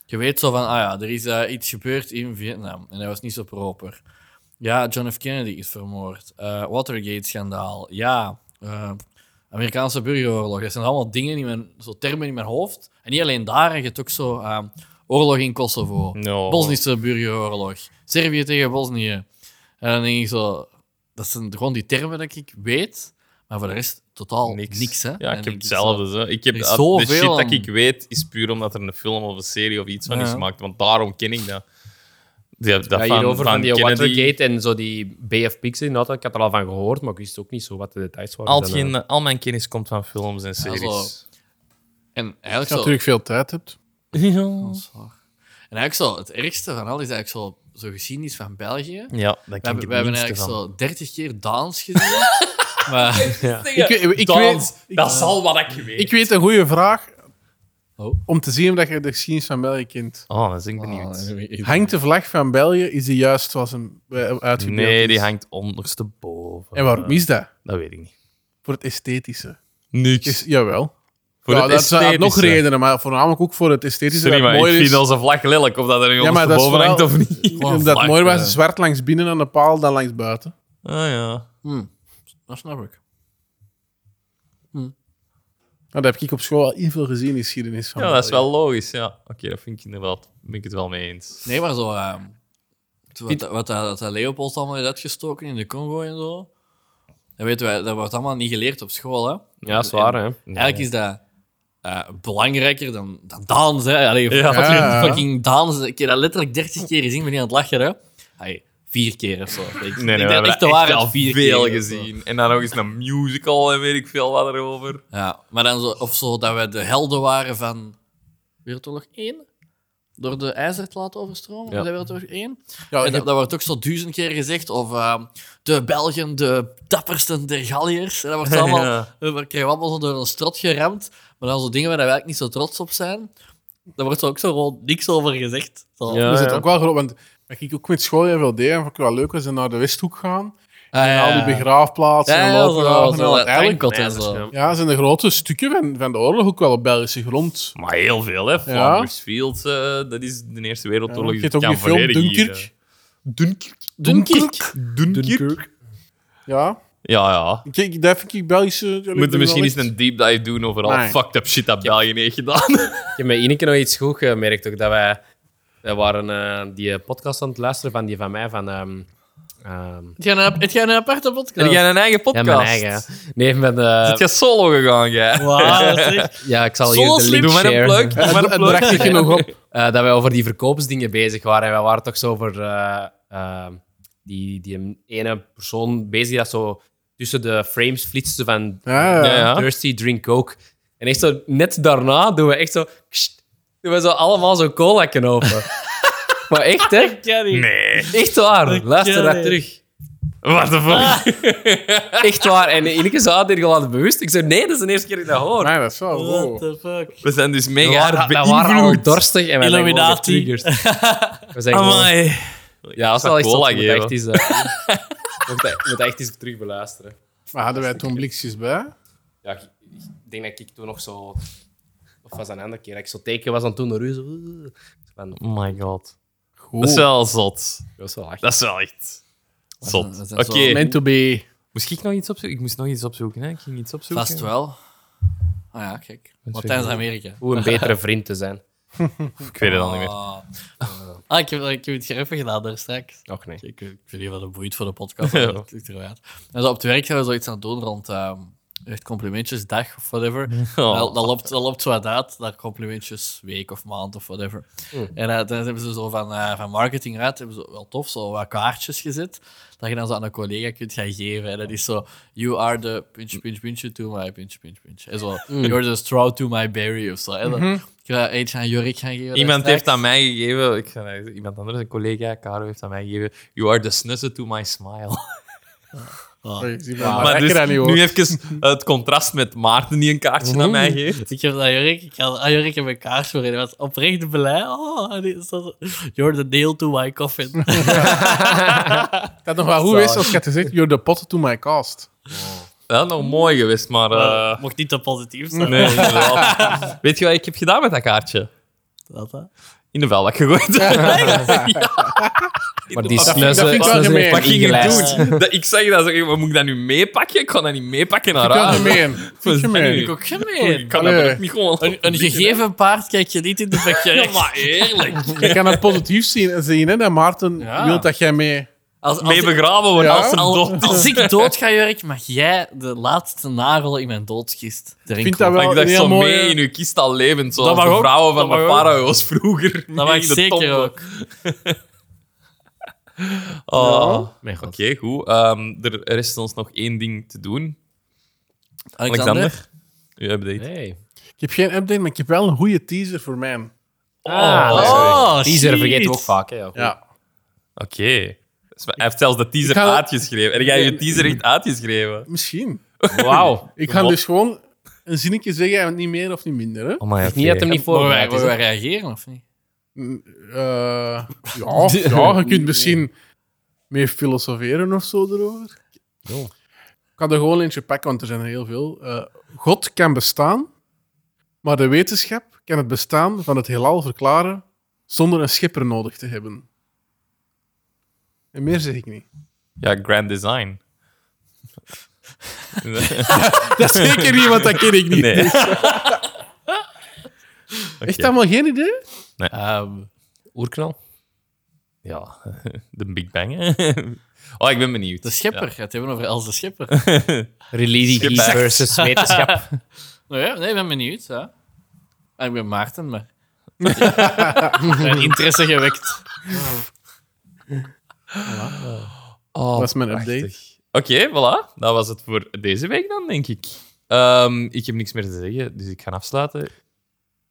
Je weet zo van, ah ja, er is eh, iets gebeurd in Vietnam en dat was niet zo proper. Ja, John F. Kennedy is vermoord. Eh, Watergate-schandaal. Ja, eh, Amerikaanse burgeroorlog. Dat zijn allemaal dingen, in mijn, zo termen in mijn hoofd. En niet alleen daar, je hebt ook zo eh, oorlog in Kosovo.
No.
Bosnische burgeroorlog. Servië tegen Bosnië. En dan denk ik zo... Dat zijn gewoon die termen dat ik weet. Maar voor de rest totaal
Oh,
niks. hè? Dan
Ja, ik
denk
heb
zo,
hetzelfde. Zo. Ik heb,
er is
ah, de
zoveel
shit
aan-
dat ik weet is puur omdat er een film of een serie of iets van is gemaakt. Want daarom ken ik dat. Ja, dat
ja,
van,
hierover van, die
Kennedy.
Watergate en zo die BF Pixie. Nou, ik had er al van gehoord, maar ik wist ook niet zo wat de details waren.
Al,
Dus, eh,
hetgeen- al mijn kennis komt van films en series.
En
Als
eigenlijk zo...
je natuurlijk veel tijd hebt.
Ja,
Dat is waar. En eigenlijk zo... Het ergste van al is eigenlijk zo... Zo geschiedenis van België. We
ja dat ken ik
hebben,
het
we hebben
minste
eigenlijk
van. Oh,
zo dertig keer Daans gezien. maar...
Ik, weet- ik,
Dans,
weet,
dat zal wat ik weet.
ik weet een goede vraag
Oh.
om te zien of dat je de geschiedenis van België kent.
Oh, dat ben ik
Ah,
benieuwd.
Hangt de vlag van België, is die juist zoals hem eh, uitgebeeld
nee,
is?
die hangt ondersteboven.
En waarom is dat?
Dat weet ik niet.
Voor het esthetische. Is,
Niks.
jawel.
Voor
ja,
het
dat zijn nog
esthetische.
redenen, maar voornamelijk ook voor het esthetische.
Sorry,
dat
maar
het
ik
mooi
vind
is.
onze vlag lelijk. Of dat er
Ja,
jongens
maar dat is
boven hangt of
vooral-
niet.
Gewoon
Omdat het
vlak,
mooi
eh.
was, zwart langs binnen aan de paal, dan langs buiten.
Ah ja.
Hm, dat snap ik.
Nou, dat heb ik op school al heel veel gezien, die geschiedenis van
Ja, dat is
België.
wel logisch. Ja. Oké, dat vind ik inderdaad. Ben ik het wel mee eens.
Nee, maar zo... ehm, wat, wat, dat- wat dat Leopold allemaal heeft uitgestoken in de Congo en zo... Dat, weten wij, dat wordt allemaal niet geleerd op school, hè?
Ja, is waar, hè.
Eigenlijk is dat eh, belangrijker dan, dan Daans. Hè? Allee,
Ja.
fucking-
Ja.
Fucking Daans. Ik heb dat letterlijk 30 keer gezien. Ik ben niet aan het lachen. Hè? Allee, vier keer of zo. Ik, nee,
Nee, nee, we hebben echt al veel gezien. En dan nog eens een musical en weet ik veel wat erover.
Ja, maar dan zo, of zo dat we de helden waren van Wereldoorlog 1. Door de ijzer te laten overstromen.
Ja.
Ja. Wereldoorlog 1.
Ja,
En
ik heb-
Oh, dat, dat wordt ook zo duizend keer gezegd. Of eh, de Belgen, de dappersten der Galliërs. En dat wordt allemaal,
Ja.
we krijgen allemaal zo door een strot geramd. Maar dan zo dingen waar we eigenlijk niet zo trots op zijn. Daar wordt zo ook zo gewoon niks over gezegd. Zo.
Ja,
Ah,
Er zit
ja.
ook wel groot, want wat ik ook met school heel veel deed, en vond ik wel leuk, was ze naar de Westhoek gaan.
Ah,
En
ja.
al die begraafplaatsen
Ja,
en
ja, zo, zo,
loopgraven. en
zo,
al
dat
het eigenlijk-
tankot en
Ja,
zo.
ja.
Ja, zijn de grote stukken van, van de oorlog ook wel op Belgische grond.
Maar heel veel, hè. Flanders Field, eh, dat is de Eerste Wereldoorlog.
je
Dat
hebt ook
kan
die film
volledig hier,
Dunkirk. Dunkirk.
Dunkirk.
eh, Dunkirk.
Ja,
Ja, ja.
kijk, daar vind ik Belgische... ja, ik
We moeten
ben
misschien
wel
eens
echt-
een deep dive doen over al
Nee.
fucked up shit dat België heeft gedaan.
Ik heb met Ineke nog iets goed gemerkt. Ook dat wij, wij waren eh, die podcast aan het luisteren van die van mij. Van, ehm, ehm,
Het gaat een- Het gaat een aparte
En
podcast.
jij een eigen
ja,
podcast.
mijn eigen. hè. Nee, met, eh,
Zit jij solo gegaan, jij?
Ah,
Wauw, zeg.
ja, ik zal hier
Solo
de
slim.
link
Doe maar een
sharen.
plug. Doe maar een
Het
plug.
bracht ik je nog op.
Eh, dat wij over die verkoopsdingen bezig waren. En wij waren toch zo over eh, eh, die, die ene persoon bezig die dat zo tussen de frames flitste van eh,
Ja, ja.
Ja, ja.
Thirsty Drink Coke. En echt zo, net daarna doen we echt zo... kst, doen we zo allemaal zo'n cola open. maar echt, hè?
Kenny.
Nee.
Echt waar.
Ik
Luister
ken
dat
het.
terug.
What the fuck?
Echt waar. En Ineke zei, ah, dit al aan het bewust. Ik zei, nee, dat is de eerste keer dat ik dat hoor.
Nee, dat is wel
What
wow.
the fuck?
We zijn dus
We
mega hard
waren, we waren al
beïnvloed.
dorstig en wij zijn gewoon
Illuminati.
getriggerd. We
Oh
zijn gewoon...
Amai.
Ja, dat is wel
zou
echt
cola
zot. Je moet
geven.
echt eens, eh, je moet je moet echt eens terug beluisteren.
Maar hadden wij toen blikjes bij?
Ja, ik, ik denk dat ik toen nog zo... Of was dat een andere keer? Dat ik zo teken was aan toen naar u. Zo, eh, van,
Oh my god.
Goed.
Dat is wel zot.
dat is wel echt.
Dat is wel echt zot.
Dat
Oké.
zijn zo-
Meant to be.
Moest ik nog iets opzoeken? Ik moest nog iets opzoeken. Hè? Ik ging iets opzoeken.
Vast wel. Ah ja, kijk. Latijns-Amerika.
Hoe een betere vriend te zijn.
Ik weet het al niet meer.
Ah.
Ah, ik heb, ik heb het even gedaan daar straks.
Nog nee.
Ik, ik weet niet wat het boeit voor de podcast.
Ja.
maar het is er wel uit. En zo op het werk zijn we zoiets aan het doen rond ehm, echt complimentjesdag of whatever.
Oh.
Dat, dat loopt, dat loopt zo uit uit, dat complimentjes week of maand of whatever.
Hmm.
En eh, dan hebben ze zo van, eh, van marketing uit, hebben ze wel tof, zo wat kaartjes gezet, dat je dan zo aan een collega kunt gaan geven. En dat is zo, you are the puntje, puntje, puntje to my puntje, puntje, puntje. En zo,
Hmm.
you're the straw to my berry of zo. En dan ik ga eentje aan Jorik gaan geven.
Mhm. Iemand
daar
heeft
straks.
aan mij gegeven, ik, ga- iemand anders, een collega, Caro, heeft aan mij gegeven. You are the snuzzer to my smile.
Sorry, zie maar,
Ah,
Maar,
dat je
dus,
dat niet hoort.
nu even het contrast met Maarten die een kaartje aan mij geeft.
Ik heb dat Jorik, ik had, ah, Jorik heb een kaars voor en hij was oprecht blij. Oh, en die is dat, you're the nail to my coffin.
Dat had nog wel goed geweest als je had gezegd, you're the pot to my cast.
Dat had nog mooi geweest, maar... eh,
Mocht niet te positief zijn.
nee, inderdaad. Weet je wat ik heb gedaan met dat kaartje?
Dat, hè?
In de vuilbak gegooid.
Maar die
Dat vind- dat
snuzzen
vind ik wel
snuzzen heeft
gemeen.
dat
Wat ging ik
ingelijst.
doen? Dat, ik zeg dat, zeg, maar moet ik dat nu meepakken? Ik kon dat niet meepakken naar
Ik kan
huis.
er mee in.
Wat is
Vind je
dat nu?
mee?
Ik
Ik
ook-
ook gemeen.
Ik kan
Allee.
dat ook niet gewoon...
Een, een gegeven paard kijk je niet in de
Ja,
bek.
maar eerlijk.
Je kan het positief zien, zien hè, dat Maarten
Ja.
wil dat jij mee...
Als, als,
Mee begraven worden
Ja.
als een
Al-
dood.
als ik dood ga, Jurk, mag jij de laatste nagel in mijn doodskist erin
Vind dat
kloppen.
Maar
wel
ik
een
dacht
heel
zo
mooie-
mee in uw kist al levend, zoals
Dat mag
de
ook,
vrouwen
dat
van de
mag ook.
farao's vroeger. mee
Dat mag
in de
zeker
toppen.
ook.
Oh.
Mijn god.
Oké, goed. Ehm, er rest ons nog één ding te doen.
Alexander?
Alexander, uw update.
Nee.
Ik heb geen update, maar ik heb wel een goede teaser voor mij.
Ah, dat is
oh,
correct. teaser
shit.
vergeten we ook vaak. Hè, ja, goed.
Ja.
Oké. Dus Hij heeft zelfs de teaser
Ik ga-
uitgeschreven. En jij hebt je teaser echt uitgeschreven.
Misschien.
Wauw.
Ik ga
Wat?
dus gewoon een zinnetje zeggen en niet meer of niet minder. Hè?
Oh my,
Niet dat hem niet
Mogen wij,
voorbereid is.
mogen wij
hè.
reageren of niet?
Eh, ja, ja, je kunt misschien meer filosoferen of zo erover. Ik kan er gewoon eentje pakken, want er zijn er heel veel. Eh, God kan bestaan, maar de wetenschap kan het bestaan van het heelal verklaren zonder een schipper nodig te hebben. En meer zeg ik niet.
Ja, grand design.
Dat is zeker niet, want dat ken ik niet.
nee.
Echt allemaal geen idee?
Ehm,
Oerknal.
Ja, de Big Bang. hè. Oh, ik ben benieuwd.
de schipper. Het hebben over Els de schipper.
Religie
Schipper.
versus wetenschap.
Nou ja, nee, ik ben benieuwd. Ja. Ah, Ik ben Maarten, maar... Mijn interesse gewekt.
Oh,
Dat is mijn update.
prachtig. Oké, voilà. Dat was het voor deze week dan, denk ik. Ehm, ik heb niks meer te zeggen, dus ik ga afsluiten.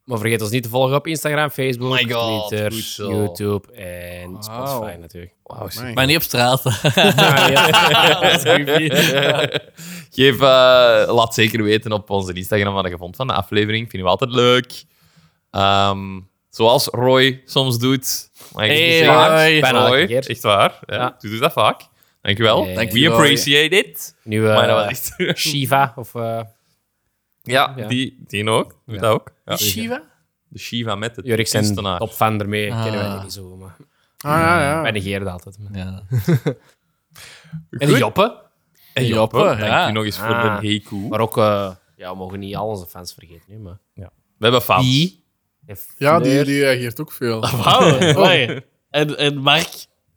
Maar vergeet ons niet te volgen op Instagram, Facebook,
my god,
Twitter,
goed zo.
YouTube en Spotify natuurlijk.
Wauw, super.
Nee.
Maar niet op straat.
Geef, eh, laat zeker weten op onze Instagram wat je vond van de aflevering. Vinden we altijd leuk. Ehm, zoals Roy soms doet. Mag ik
Hey,
niet zeggen?
Roy.
Bijna
Roy,
elke keer.
echt waar. Ja,
Ja.
Doe dat vaak. Dankjewel.
Hey.
We
Dankjewel.
appreciate it.
Nu
Maar dat was
eh
echt...
Shiva of eh
ja,
Ja.
Die, die ook. Doe dat ook. Ja.
Shiva?
De Shiva met het
Jurik zijn
kunstenaar.
top fan ermee.
Ah.
Kennen wij niet zo, maar
Ah, ja, ja.
wij negeren dat altijd.
Ja.
En de Joppe.
En Joppe,
Joppe,
dank
ja.
u nog eens voor
Ah.
de heku.
Maar ook, eh, ja, we mogen niet al onze fans vergeten. Nu, maar...
We hebben fans. Oh,
En
ja die,
Fleur.
die reageert ook veel.
Wauw. mooi. En, en Mark,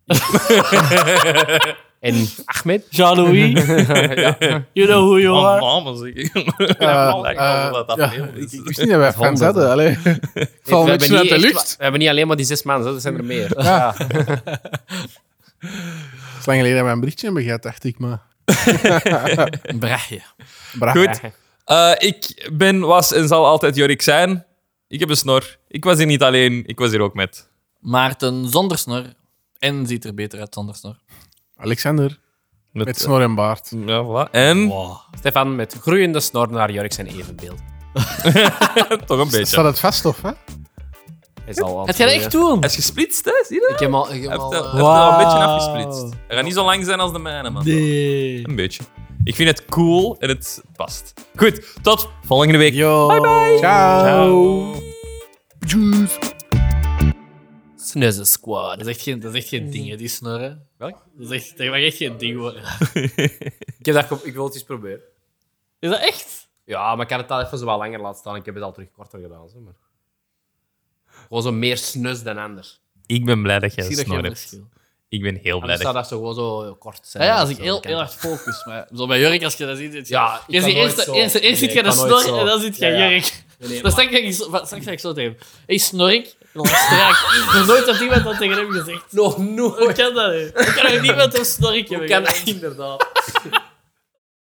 En Ahmed.
Jean-Louis, you know who you
Oh,
are.
mama, zeg ik.
Eh,
Lijkt
eh,
wel dat dus-
ja,
afnemen
ik,
is.
ik wist niet dat wij fans hadden. Allee. Ik val
We
een
hebben,
beetje uit
niet
de
echt-
lucht.
we hebben niet alleen maar die zes maanden, er zijn er meer.
Het is lang geleden dat wij een berichtje hebben gehad, dacht ik. Maar...
Brachtje.
Bra.
Goed. Eh, ik ben, was en zal altijd Jorik zijn. Ik heb een snor. Ik was hier niet alleen. Ik was hier ook met.
Maarten zonder snor. En ziet er beter uit zonder snor.
Alexander. Met snor en baard.
Ja, voilà. En
Stefan met groeiende snor naar Jurk zijn evenbeeld.
toch een beetje.
Staat het vast of hè?
Hij zal
Het gaat echt doen.
Hij is gesplitst, hè? Zie je dat?
Ik heb al... Ik
Hij
heb
heeft,
al
hij heeft
eh,
hij al een beetje afgesplitst. Hij gaat niet zo lang zijn als de mijne, man.
Nee.
Een beetje. Ik vind het cool en het past. Goed, tot volgende week.
Yo. Bye Oh.
Ciao.
Squad. Dat is echt geen, dat is echt geen ding, hè, die snorren.
Welk?
Dat is echt, dat mag echt geen ding worden.
Ik, heb dat, ge- ik wil het eens proberen.
Is dat echt?
Ja, maar ik had het al even zo wat langer laten staan. Ik heb het al terug korter gedaan. Zo, maar... Gewoon zo meer snus dan anders.
Ik ben blij dat jij
Ik
een
zie dat dus.
snor
geen
hebt.
verschil.
Ik ben heel blij dat
Anders zou dat zo gewoon zo kort zijn.
Ah Ja, ja, als ik
Zo,
heel,
kan-
heel hard focus. Maar zo bij Jurk, als je dat ziet... zit je-
Ja, ik
je
kan
ziet
nooit
eerst,
zo.
eerst, eerst
Nee,
zit
ik
je de
kan nooit
snor
zo.
en dan zit je
Ja, ja.
Jurk. dan straks ga ik, zo- straks ga ik zo tegen hem. hey, snork. En dan strak. Er is nooit dat iemand dat tegen hem gezegd.
Nog nooit.
Hoe kan dat nu? Hoe kan er niemand een snorkje
Hoe
hebben?
kan dat inderdaad?